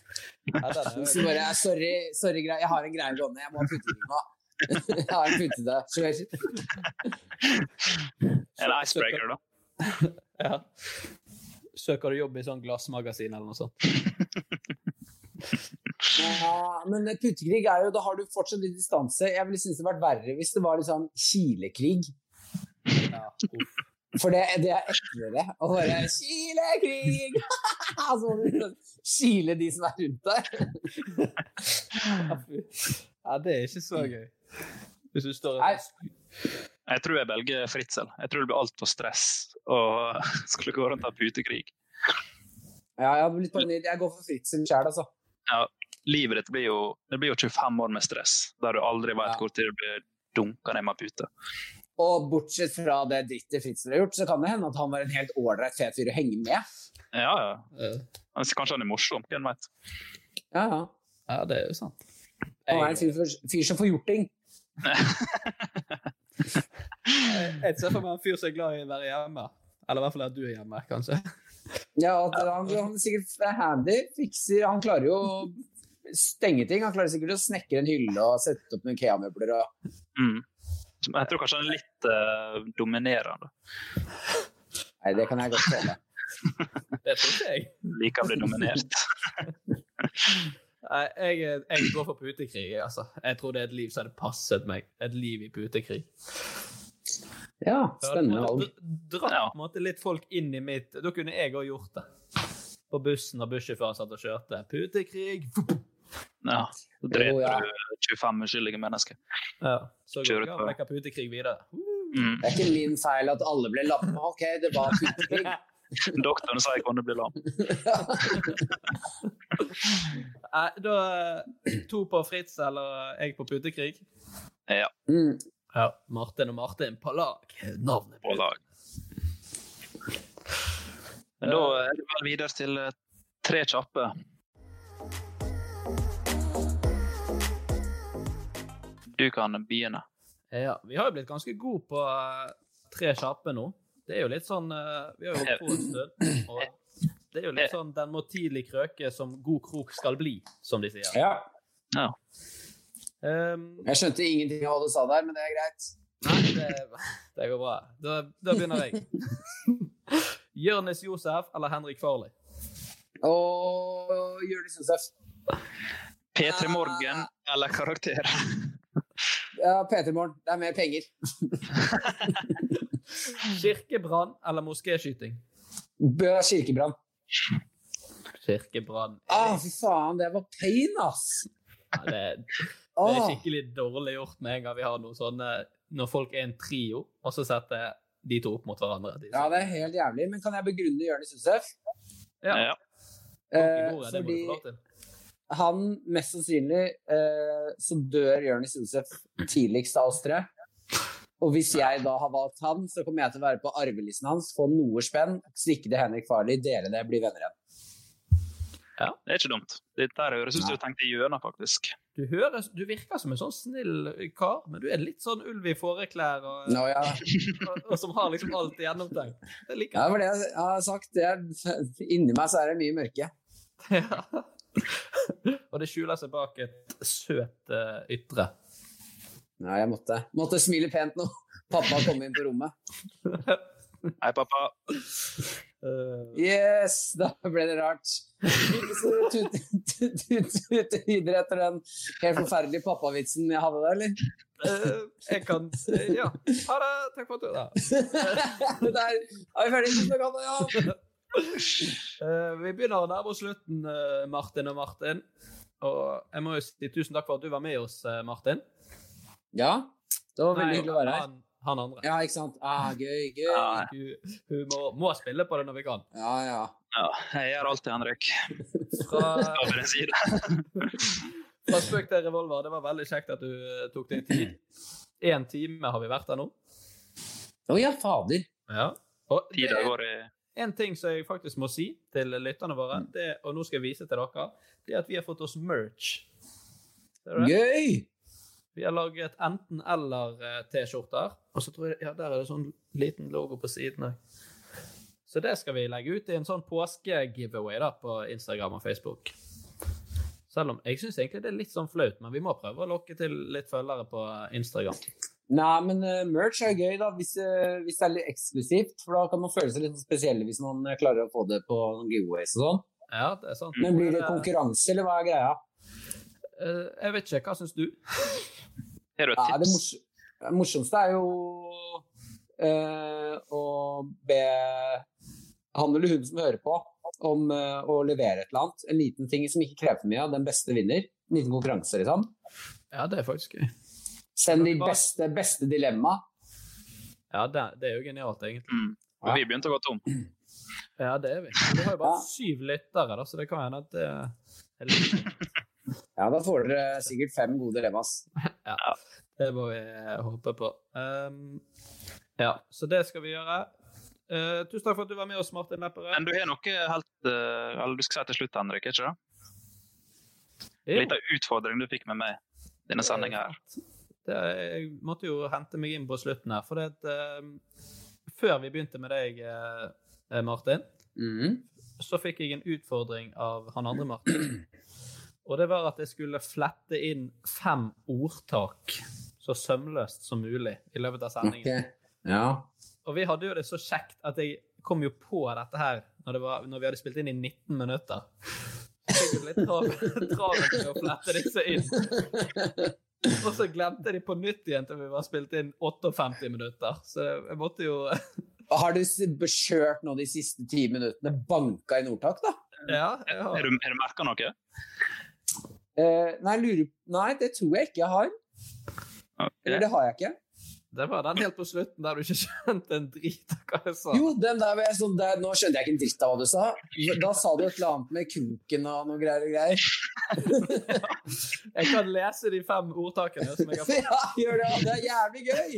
Speaker 3: *laughs* Så bare sorry, sorry grei. jeg har en greie gående, jeg må ha putte det nå. *laughs* Jeg har en putte det. Så jeg-
Speaker 8: En icebreaker, da.
Speaker 7: Ja. Søker du jobb i sånn glassmagasin eller noe sånt?
Speaker 3: Ja, men puttekrig er jo Da har du fortsatt litt distanse. Jeg ville synes det hadde vært verre hvis det var litt sånn kilekrig. For det, det er eklere å bare Kilekrig! *laughs* Altså, du Kile de som er rundt *laughs* deg.
Speaker 7: Ja, det er ikke så gøy. Hvis du står
Speaker 8: Jeg tror jeg velger Fritzel. Jeg tror det blir altfor stress og *laughs* skulle gå rundt og ha putekrig.
Speaker 3: Ja, jeg hadde blitt paranoid. Jeg går for Fritzen sjæl, altså.
Speaker 8: Ja, livet ditt blir jo, det blir jo 25 år med stress, der du aldri vet hvor tid du blir dunka ned med pute.
Speaker 3: Og bortsett fra det drittet Fritzen har gjort, så kan det hende at han var en helt ålreit fet fyr å henge med.
Speaker 8: Ja, ja.
Speaker 7: Eh,
Speaker 8: Men Kanskje han er morsom, hvem vet. *laughs*
Speaker 3: Ja, ja.
Speaker 7: Ja, det er jo sant.
Speaker 3: Han er en fyr, for- fyr som får gjort ting.
Speaker 7: Jeg ser for meg en fyr som er glad i å være hjemme. Eller i hvert fall at du er hjemme, kanskje.
Speaker 3: Ja, og at han, han er sikkert handy, fikser Han klarer jo å stenge ting. Han klarer sikkert å snekre en hylle og sette opp noen IKEA-møbler og
Speaker 8: Mm. Men Jeg tror kanskje han er litt eh, dominerende.
Speaker 3: Nei, det kan jeg godt føle.
Speaker 7: *laughs* Det tror ikke jeg.
Speaker 8: Liker å bli
Speaker 7: *laughs*
Speaker 8: dominert.
Speaker 7: Nei, Jeg, jeg går for putekrig, jeg, altså. Jeg tror det er et liv som hadde passet meg. Et liv i putekrig.
Speaker 3: Ja, spennende
Speaker 7: altså. Ja,
Speaker 3: valg.
Speaker 7: dra- Dratt på en måte litt folk inn i mitt Da kunne jeg òg gjort det. På bussen når bussjåføren satt og kjørte. Putekrig!
Speaker 8: Ja, Da dreper
Speaker 7: Jo, ja.
Speaker 8: du 25 uskyldige mennesker.
Speaker 7: Ja, så går
Speaker 8: Kjører
Speaker 7: jeg
Speaker 8: ut
Speaker 7: og
Speaker 8: på-
Speaker 7: leker putekrig videre.
Speaker 8: Mm.
Speaker 3: Det er ikke min feil at alle ble lamme. OK, det var putekrig.
Speaker 8: Doktoren sa jeg kunne bli lam.
Speaker 7: Nei, da eh, to på Fritz eller jeg på putekrig.
Speaker 8: Ja.
Speaker 3: Mm.
Speaker 7: ja. Martin og Martin på lag. Navnet
Speaker 8: på lag. Men da er det vel videre til eh, tre kjappe. Du kan begynne.
Speaker 7: Ja, vi har jo blitt ganske gode på eh, tre kjappe nå. Det er jo litt sånn eh, Vi har jo holdt på en stund. Og det er jo litt sånn den må tidlig krøke som god krok skal bli, som de sier. Ehm,
Speaker 3: Ja.
Speaker 8: Ja.
Speaker 3: Jeg skjønte ingenting av hva du sa der, men det er greit.
Speaker 7: Nei, det, det går bra. Da, da begynner jeg. Jørnis Josef eller Henrik Farley?
Speaker 3: Og Jonis Josef.
Speaker 8: P3 Morgen eller karakter?
Speaker 3: Ja, P3 Morgen. Det er mer penger.
Speaker 7: Kirkebrann eller moskéskyting?
Speaker 3: Bø kirkebrann.
Speaker 7: Kirkebrann.
Speaker 3: Å, fy faen, det var pain, ass!
Speaker 7: Ja, det, det er skikkelig dårlig gjort med en gang vi har noen sånne Når folk er en trio, og så setter de to opp mot hverandre. De,
Speaker 3: Ja, det er helt jævlig. Men kan jeg begrunne Jonis Josef?
Speaker 7: Ja.
Speaker 3: Eh,
Speaker 7: Ordet, det må du
Speaker 3: fordi
Speaker 7: få lov til.
Speaker 3: han mest sannsynlig eh, så dør Jonis Josef tidligst av oss tre. Og hvis jeg da har valgt han, så kommer jeg til å være på arvelisten hans, få noe spenn, stikke til Henrik Farley, dele det, bli venner igjen.
Speaker 8: Ja, det er ikke dumt. Dette her høres ut som du tenkte gjennom, faktisk.
Speaker 7: Du, høres, du virker som en sånn snill kar, men du er litt sånn ulv i fåreklær og,
Speaker 3: Nå, ja.
Speaker 7: *laughs* og, og som har liksom alt gjennomtenkt. Det liker
Speaker 3: Ja, det var det jeg har sagt. Det er, inni meg så er det mye mørke.
Speaker 7: *laughs* Og det skjuler seg bak et søt eh, ytre.
Speaker 3: Nei, jeg måtte, måtte smile pent nå. Pappa kom inn på rommet.
Speaker 8: Hei, pappa.
Speaker 7: Eh,
Speaker 3: Yes, da ble det rart. Tute videre etter den helt forferdelige pappavitsen jeg hadde der, eller?
Speaker 7: Eh, jeg kan Ja. Ha det! Takk for at du var
Speaker 3: Der er vi ferdige. Ja.
Speaker 7: Eh, vi begynner å nærme oss slutten, eh, Martin og Martin. Og jeg må jo si tusen takk for at du var med oss, eh, Martin.
Speaker 3: Ja, det var veldig hyggelig å være her.
Speaker 7: Han, han andre.
Speaker 3: Ja, ikke sant? Ah, gøy, gøy.
Speaker 8: Ja,
Speaker 7: Hun, hun må, må spille på det når vi
Speaker 3: *laughs*
Speaker 7: kan.
Speaker 3: Ja, ja.
Speaker 8: Ja, jeg gjør alltid Henrik.
Speaker 7: Fra,
Speaker 8: Skal vi side.
Speaker 7: fra spøk til revolver. Det var veldig kjekt at du eh, tok deg tid. Én time har vi vært her nå.
Speaker 3: Å ja, fader.
Speaker 7: Ja. Og det,
Speaker 8: Tida går i
Speaker 7: En ting som jeg faktisk må si til lytterne våre,
Speaker 3: Mm.
Speaker 7: det, og nå skal jeg vise til dere, det er at vi har fått oss merch. Ser du det?
Speaker 3: Gøy!
Speaker 7: Vi har laget enten-eller-T-skjorter. Og så tror jeg, ja, der er det sånn liten logo på siden òg. Så det skal vi legge ut i en sånn påske-giveaway da, på Instagram og Facebook. Selv om jeg syns egentlig det er litt sånn flaut, men vi må prøve å lokke til litt følgere på Instagram.
Speaker 3: Nei, men eh, merch er gøy da, hvis, eh, hvis det er litt eksklusivt. For da kan man føle seg litt sånn spesiell hvis man eh, klarer å få det på noen giveaways og sånn.
Speaker 7: Mm. Ja, det er sant.
Speaker 3: Men blir det konkurranse, eller hva er greia?
Speaker 7: Eh, Jeg vet ikke. Hva syns du?
Speaker 8: Har
Speaker 7: du et
Speaker 3: Ja, det
Speaker 7: tips?
Speaker 3: mors det morsomste er jo eh, å be han eller hun som hører på, om eh, å levere et eller annet. En liten ting som ikke krever for mye. Den beste vinner. En liten konkurranse, liksom.
Speaker 7: Ja, det er faktisk gøy.
Speaker 3: Send de beste, beste dilemma.
Speaker 7: Ja, det, det er jo genialt, egentlig.
Speaker 8: Og vi begynte å gå tom.
Speaker 7: Ja, det er vi. Vi har jo bare syv lyttere, da, så det kan hende at det er litt
Speaker 3: Ja, da får dere sikkert fem gode dilemmas.
Speaker 7: Ja, det må vi eh, håpe på. Um, ja, så det skal vi gjøre. Eh, tusen takk for at du var med oss, Martin Lepperød.
Speaker 8: Men du har noe helt eh, Eller du skal si til slutt, Henrik, ikke det?
Speaker 7: Jo.
Speaker 8: Litt av utfordring du fikk med meg denne sendinga her.
Speaker 7: Det, jeg måtte jo hente meg inn på slutten her, for det at eh, Før vi begynte med deg, eh, eh, Martin,
Speaker 3: Mhm.
Speaker 7: så fikk jeg en utfordring av han andre Martin. Og det var at jeg skulle flette inn fem ordtak så sømløst som mulig i løpet av sendingen.
Speaker 3: Ja.
Speaker 7: Og vi hadde jo det så kjekt at jeg kom jo på dette her når, det var, når vi hadde spilt inn i 19 minutter. Så fikk jeg litt *laughs* tra- travelt med å flette disse inn. Og så glemte jeg de på nytt igjen til vi var spilt inn 58 minutter. Så jeg måtte jo *laughs*
Speaker 3: Har du s- kjørt nå de siste ti minuttene, banka i Nordtak, da?
Speaker 7: Ja, jeg har-
Speaker 8: Har du, har du merka noe?
Speaker 3: Eh, nei, lurer Nei, det tror jeg ikke jeg har.
Speaker 8: Eh,
Speaker 3: Eller det har jeg ikke.
Speaker 7: Det var den helt på slutten der du ikke skjønte en drit av hva jeg sa.
Speaker 3: Jo, den der var jeg sånn der, Nå skjønte jeg ikke en dritt av hva du sa. Da sa du et eller annet med kroken og noe greier og greier.
Speaker 7: Jeg kan lese de fem ordtakene som jeg
Speaker 3: *laughs*
Speaker 7: har fått.
Speaker 3: Ja, gjør det. Det er jævlig gøy!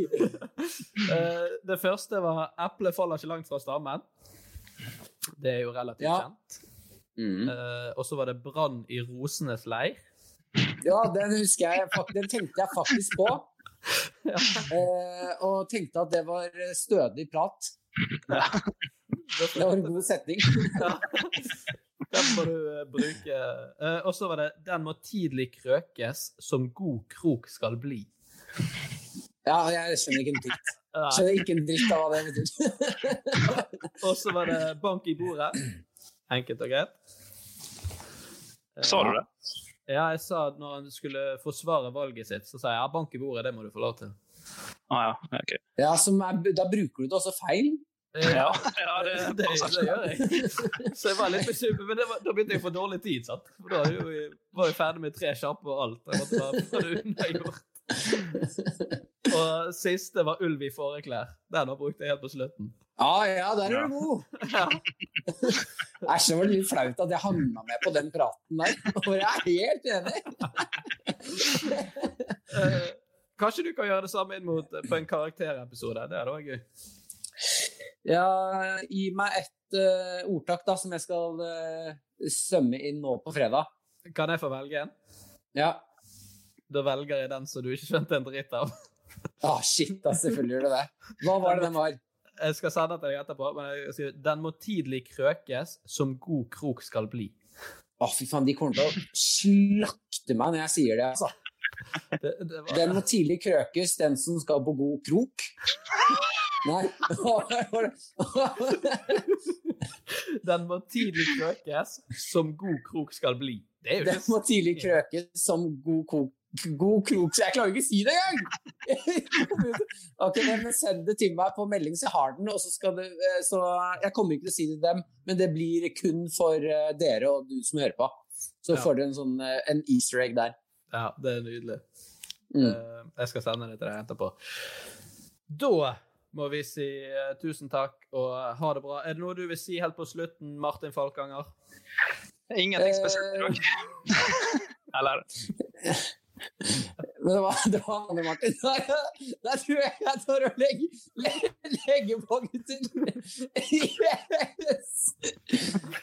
Speaker 7: Eh, det første var 'eplet faller ikke langt fra stammen'. Det er jo relativt kjent.
Speaker 3: Mm.
Speaker 7: Eh, og så var det 'brann i rosenes leir'.
Speaker 3: Ja, den husker jeg. fak- Den tenkte jeg faktisk
Speaker 7: *laughs*
Speaker 3: på. Eh, og tenkte at det var stødig prat. Det var en
Speaker 7: *laughs*
Speaker 3: god setning.
Speaker 7: sånn Den må du eh, bruke. Eh, og så var det 'den må tidlig krøkes som god krok skal bli'.
Speaker 3: Ja, jeg skjønner ikke en dritt. Skjønner ikke en dritt av hva det betyr. *laughs*
Speaker 7: Eh, Og så var det 'bank i bordet'. Enkelt og greit. Eh,
Speaker 8: Sa du det?
Speaker 7: Ja, jeg sa at når han skulle forsvare valget sitt, så sa jeg ja, bank i bordet, det må du få lov til.
Speaker 8: Ah, ja. ok.
Speaker 3: Ja, som er, da bruker du det også feil.
Speaker 8: *laughs*
Speaker 7: Ja,
Speaker 8: det,
Speaker 7: det, gjør jeg. Eh, *laughs* Så jeg var litt bekymret, men det var, da begynte jeg å få dårlig tid. sant? For da var jo jeg, var jeg ferdig med tre kjappe og alt. Jeg måtte bare få det unnagjort. Og siste var ulv i fåreklær. Den har brukt jeg helt på slutten.
Speaker 3: Ja, ja, der er du god. Æsj, det var litt flaut at jeg havna med på den praten der. *laughs* For jeg er helt enig.
Speaker 7: Eh, Kanskje du kan gjøre det samme inn mot eh, på en karakterepisode. Det hadde vært gøy.
Speaker 3: Ja, gi meg et eh, ordtak da, som jeg skal eh, sømme inn nå på fredag.
Speaker 7: Kan jeg få velge en?
Speaker 3: Ja.
Speaker 7: Da velger jeg den som du ikke skjønte en dritt av. *laughs*
Speaker 3: Ah, shit, da, selvfølgelig gjør du det. Hva var det den var?
Speaker 7: Jeg skal sende den til deg etterpå, men jeg sier den må tidlig krøkes som god krok skal bli.
Speaker 3: Å, fy faen, de kommer til å slakte meg når jeg sier det, altså. Den må tidlig krøkes, den som skal på god krok. Nei. *laughs*
Speaker 7: *laughs* Den må tidlig krøkes som god krok skal bli. Det er jo
Speaker 3: Den
Speaker 7: ikke
Speaker 3: må tidlig krøkes som god, kok, god krok. Så jeg klarer ikke å si det engang! *laughs* ok, nei, men Send det til meg på melding, så jeg har den. Og så skal det, eh, så jeg kommer ikke til å si det til dem, men det blir kun for eh, dere og du som hører på. Så
Speaker 7: Ja.
Speaker 3: får dere en, sånn, eh, en easter egg der.
Speaker 7: Ja, det er nydelig.
Speaker 3: Mm.
Speaker 7: Eh, Jeg skal sende det til deg etterpå. Da må vi si eh, tusen takk og eh, ha det bra. Er det noe du vil si helt på slutten, Martin Falkanger?
Speaker 8: Ingenting spesielt i dag. Eller
Speaker 3: Men det var, *laughs* det var Anne Martin. Nei, Da tror jeg jeg tar og legger, le- legger på, gutter. *laughs* Yes!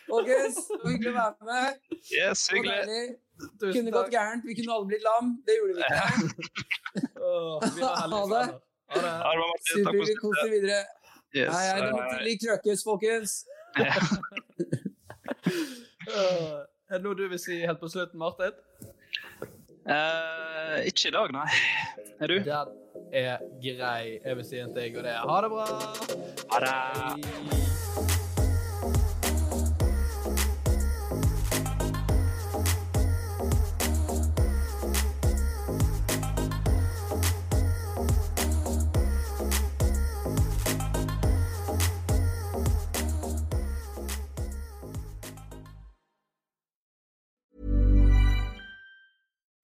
Speaker 3: Folkens, det var hyggelig å være med.
Speaker 10: Yes,
Speaker 3: Det var
Speaker 10: hyggelig.
Speaker 3: deilig.
Speaker 7: Tusen
Speaker 3: Kunne
Speaker 7: takk.
Speaker 3: gått gærent. Vi kunne alle blitt lam. Det gjorde vi ikke.
Speaker 7: vi
Speaker 3: *laughs*
Speaker 7: var heldige
Speaker 3: Ha det.
Speaker 10: Ja, det var Martin. Takk
Speaker 3: Super,
Speaker 10: for
Speaker 3: vi koser videre.
Speaker 10: Yes.
Speaker 3: Hei, hei, det er
Speaker 10: Hei,
Speaker 3: lukter
Speaker 10: hei.
Speaker 3: lik trøkkes, folkens.
Speaker 7: Øh, Er det noe du vil si helt på slutten, Martin?
Speaker 8: *laughs*
Speaker 10: Eh, ikke i dag, nei. Er du?
Speaker 7: Den er grei. Jeg vil si en ting, og det er ha det bra.
Speaker 10: Ha det.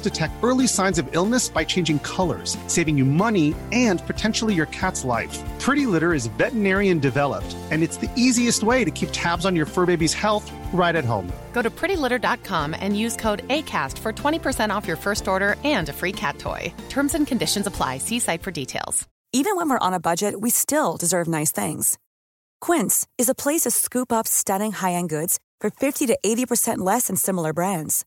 Speaker 8: detect early signs of illness by changing colors, saving you money and potentially your cat's life. Pretty Litter is veterinarian developed, and it's the easiest way to keep tabs on your fur baby's health right at home.
Speaker 11: Go to prettylitter.com and use code ACAST for 20% off your first order and a free cat toy. Terms and conditions apply. See site for details.
Speaker 12: Even when we're on a budget, we still deserve nice things. Quince is a place to scoop up stunning high-end goods for 50 to 80% less than similar brands.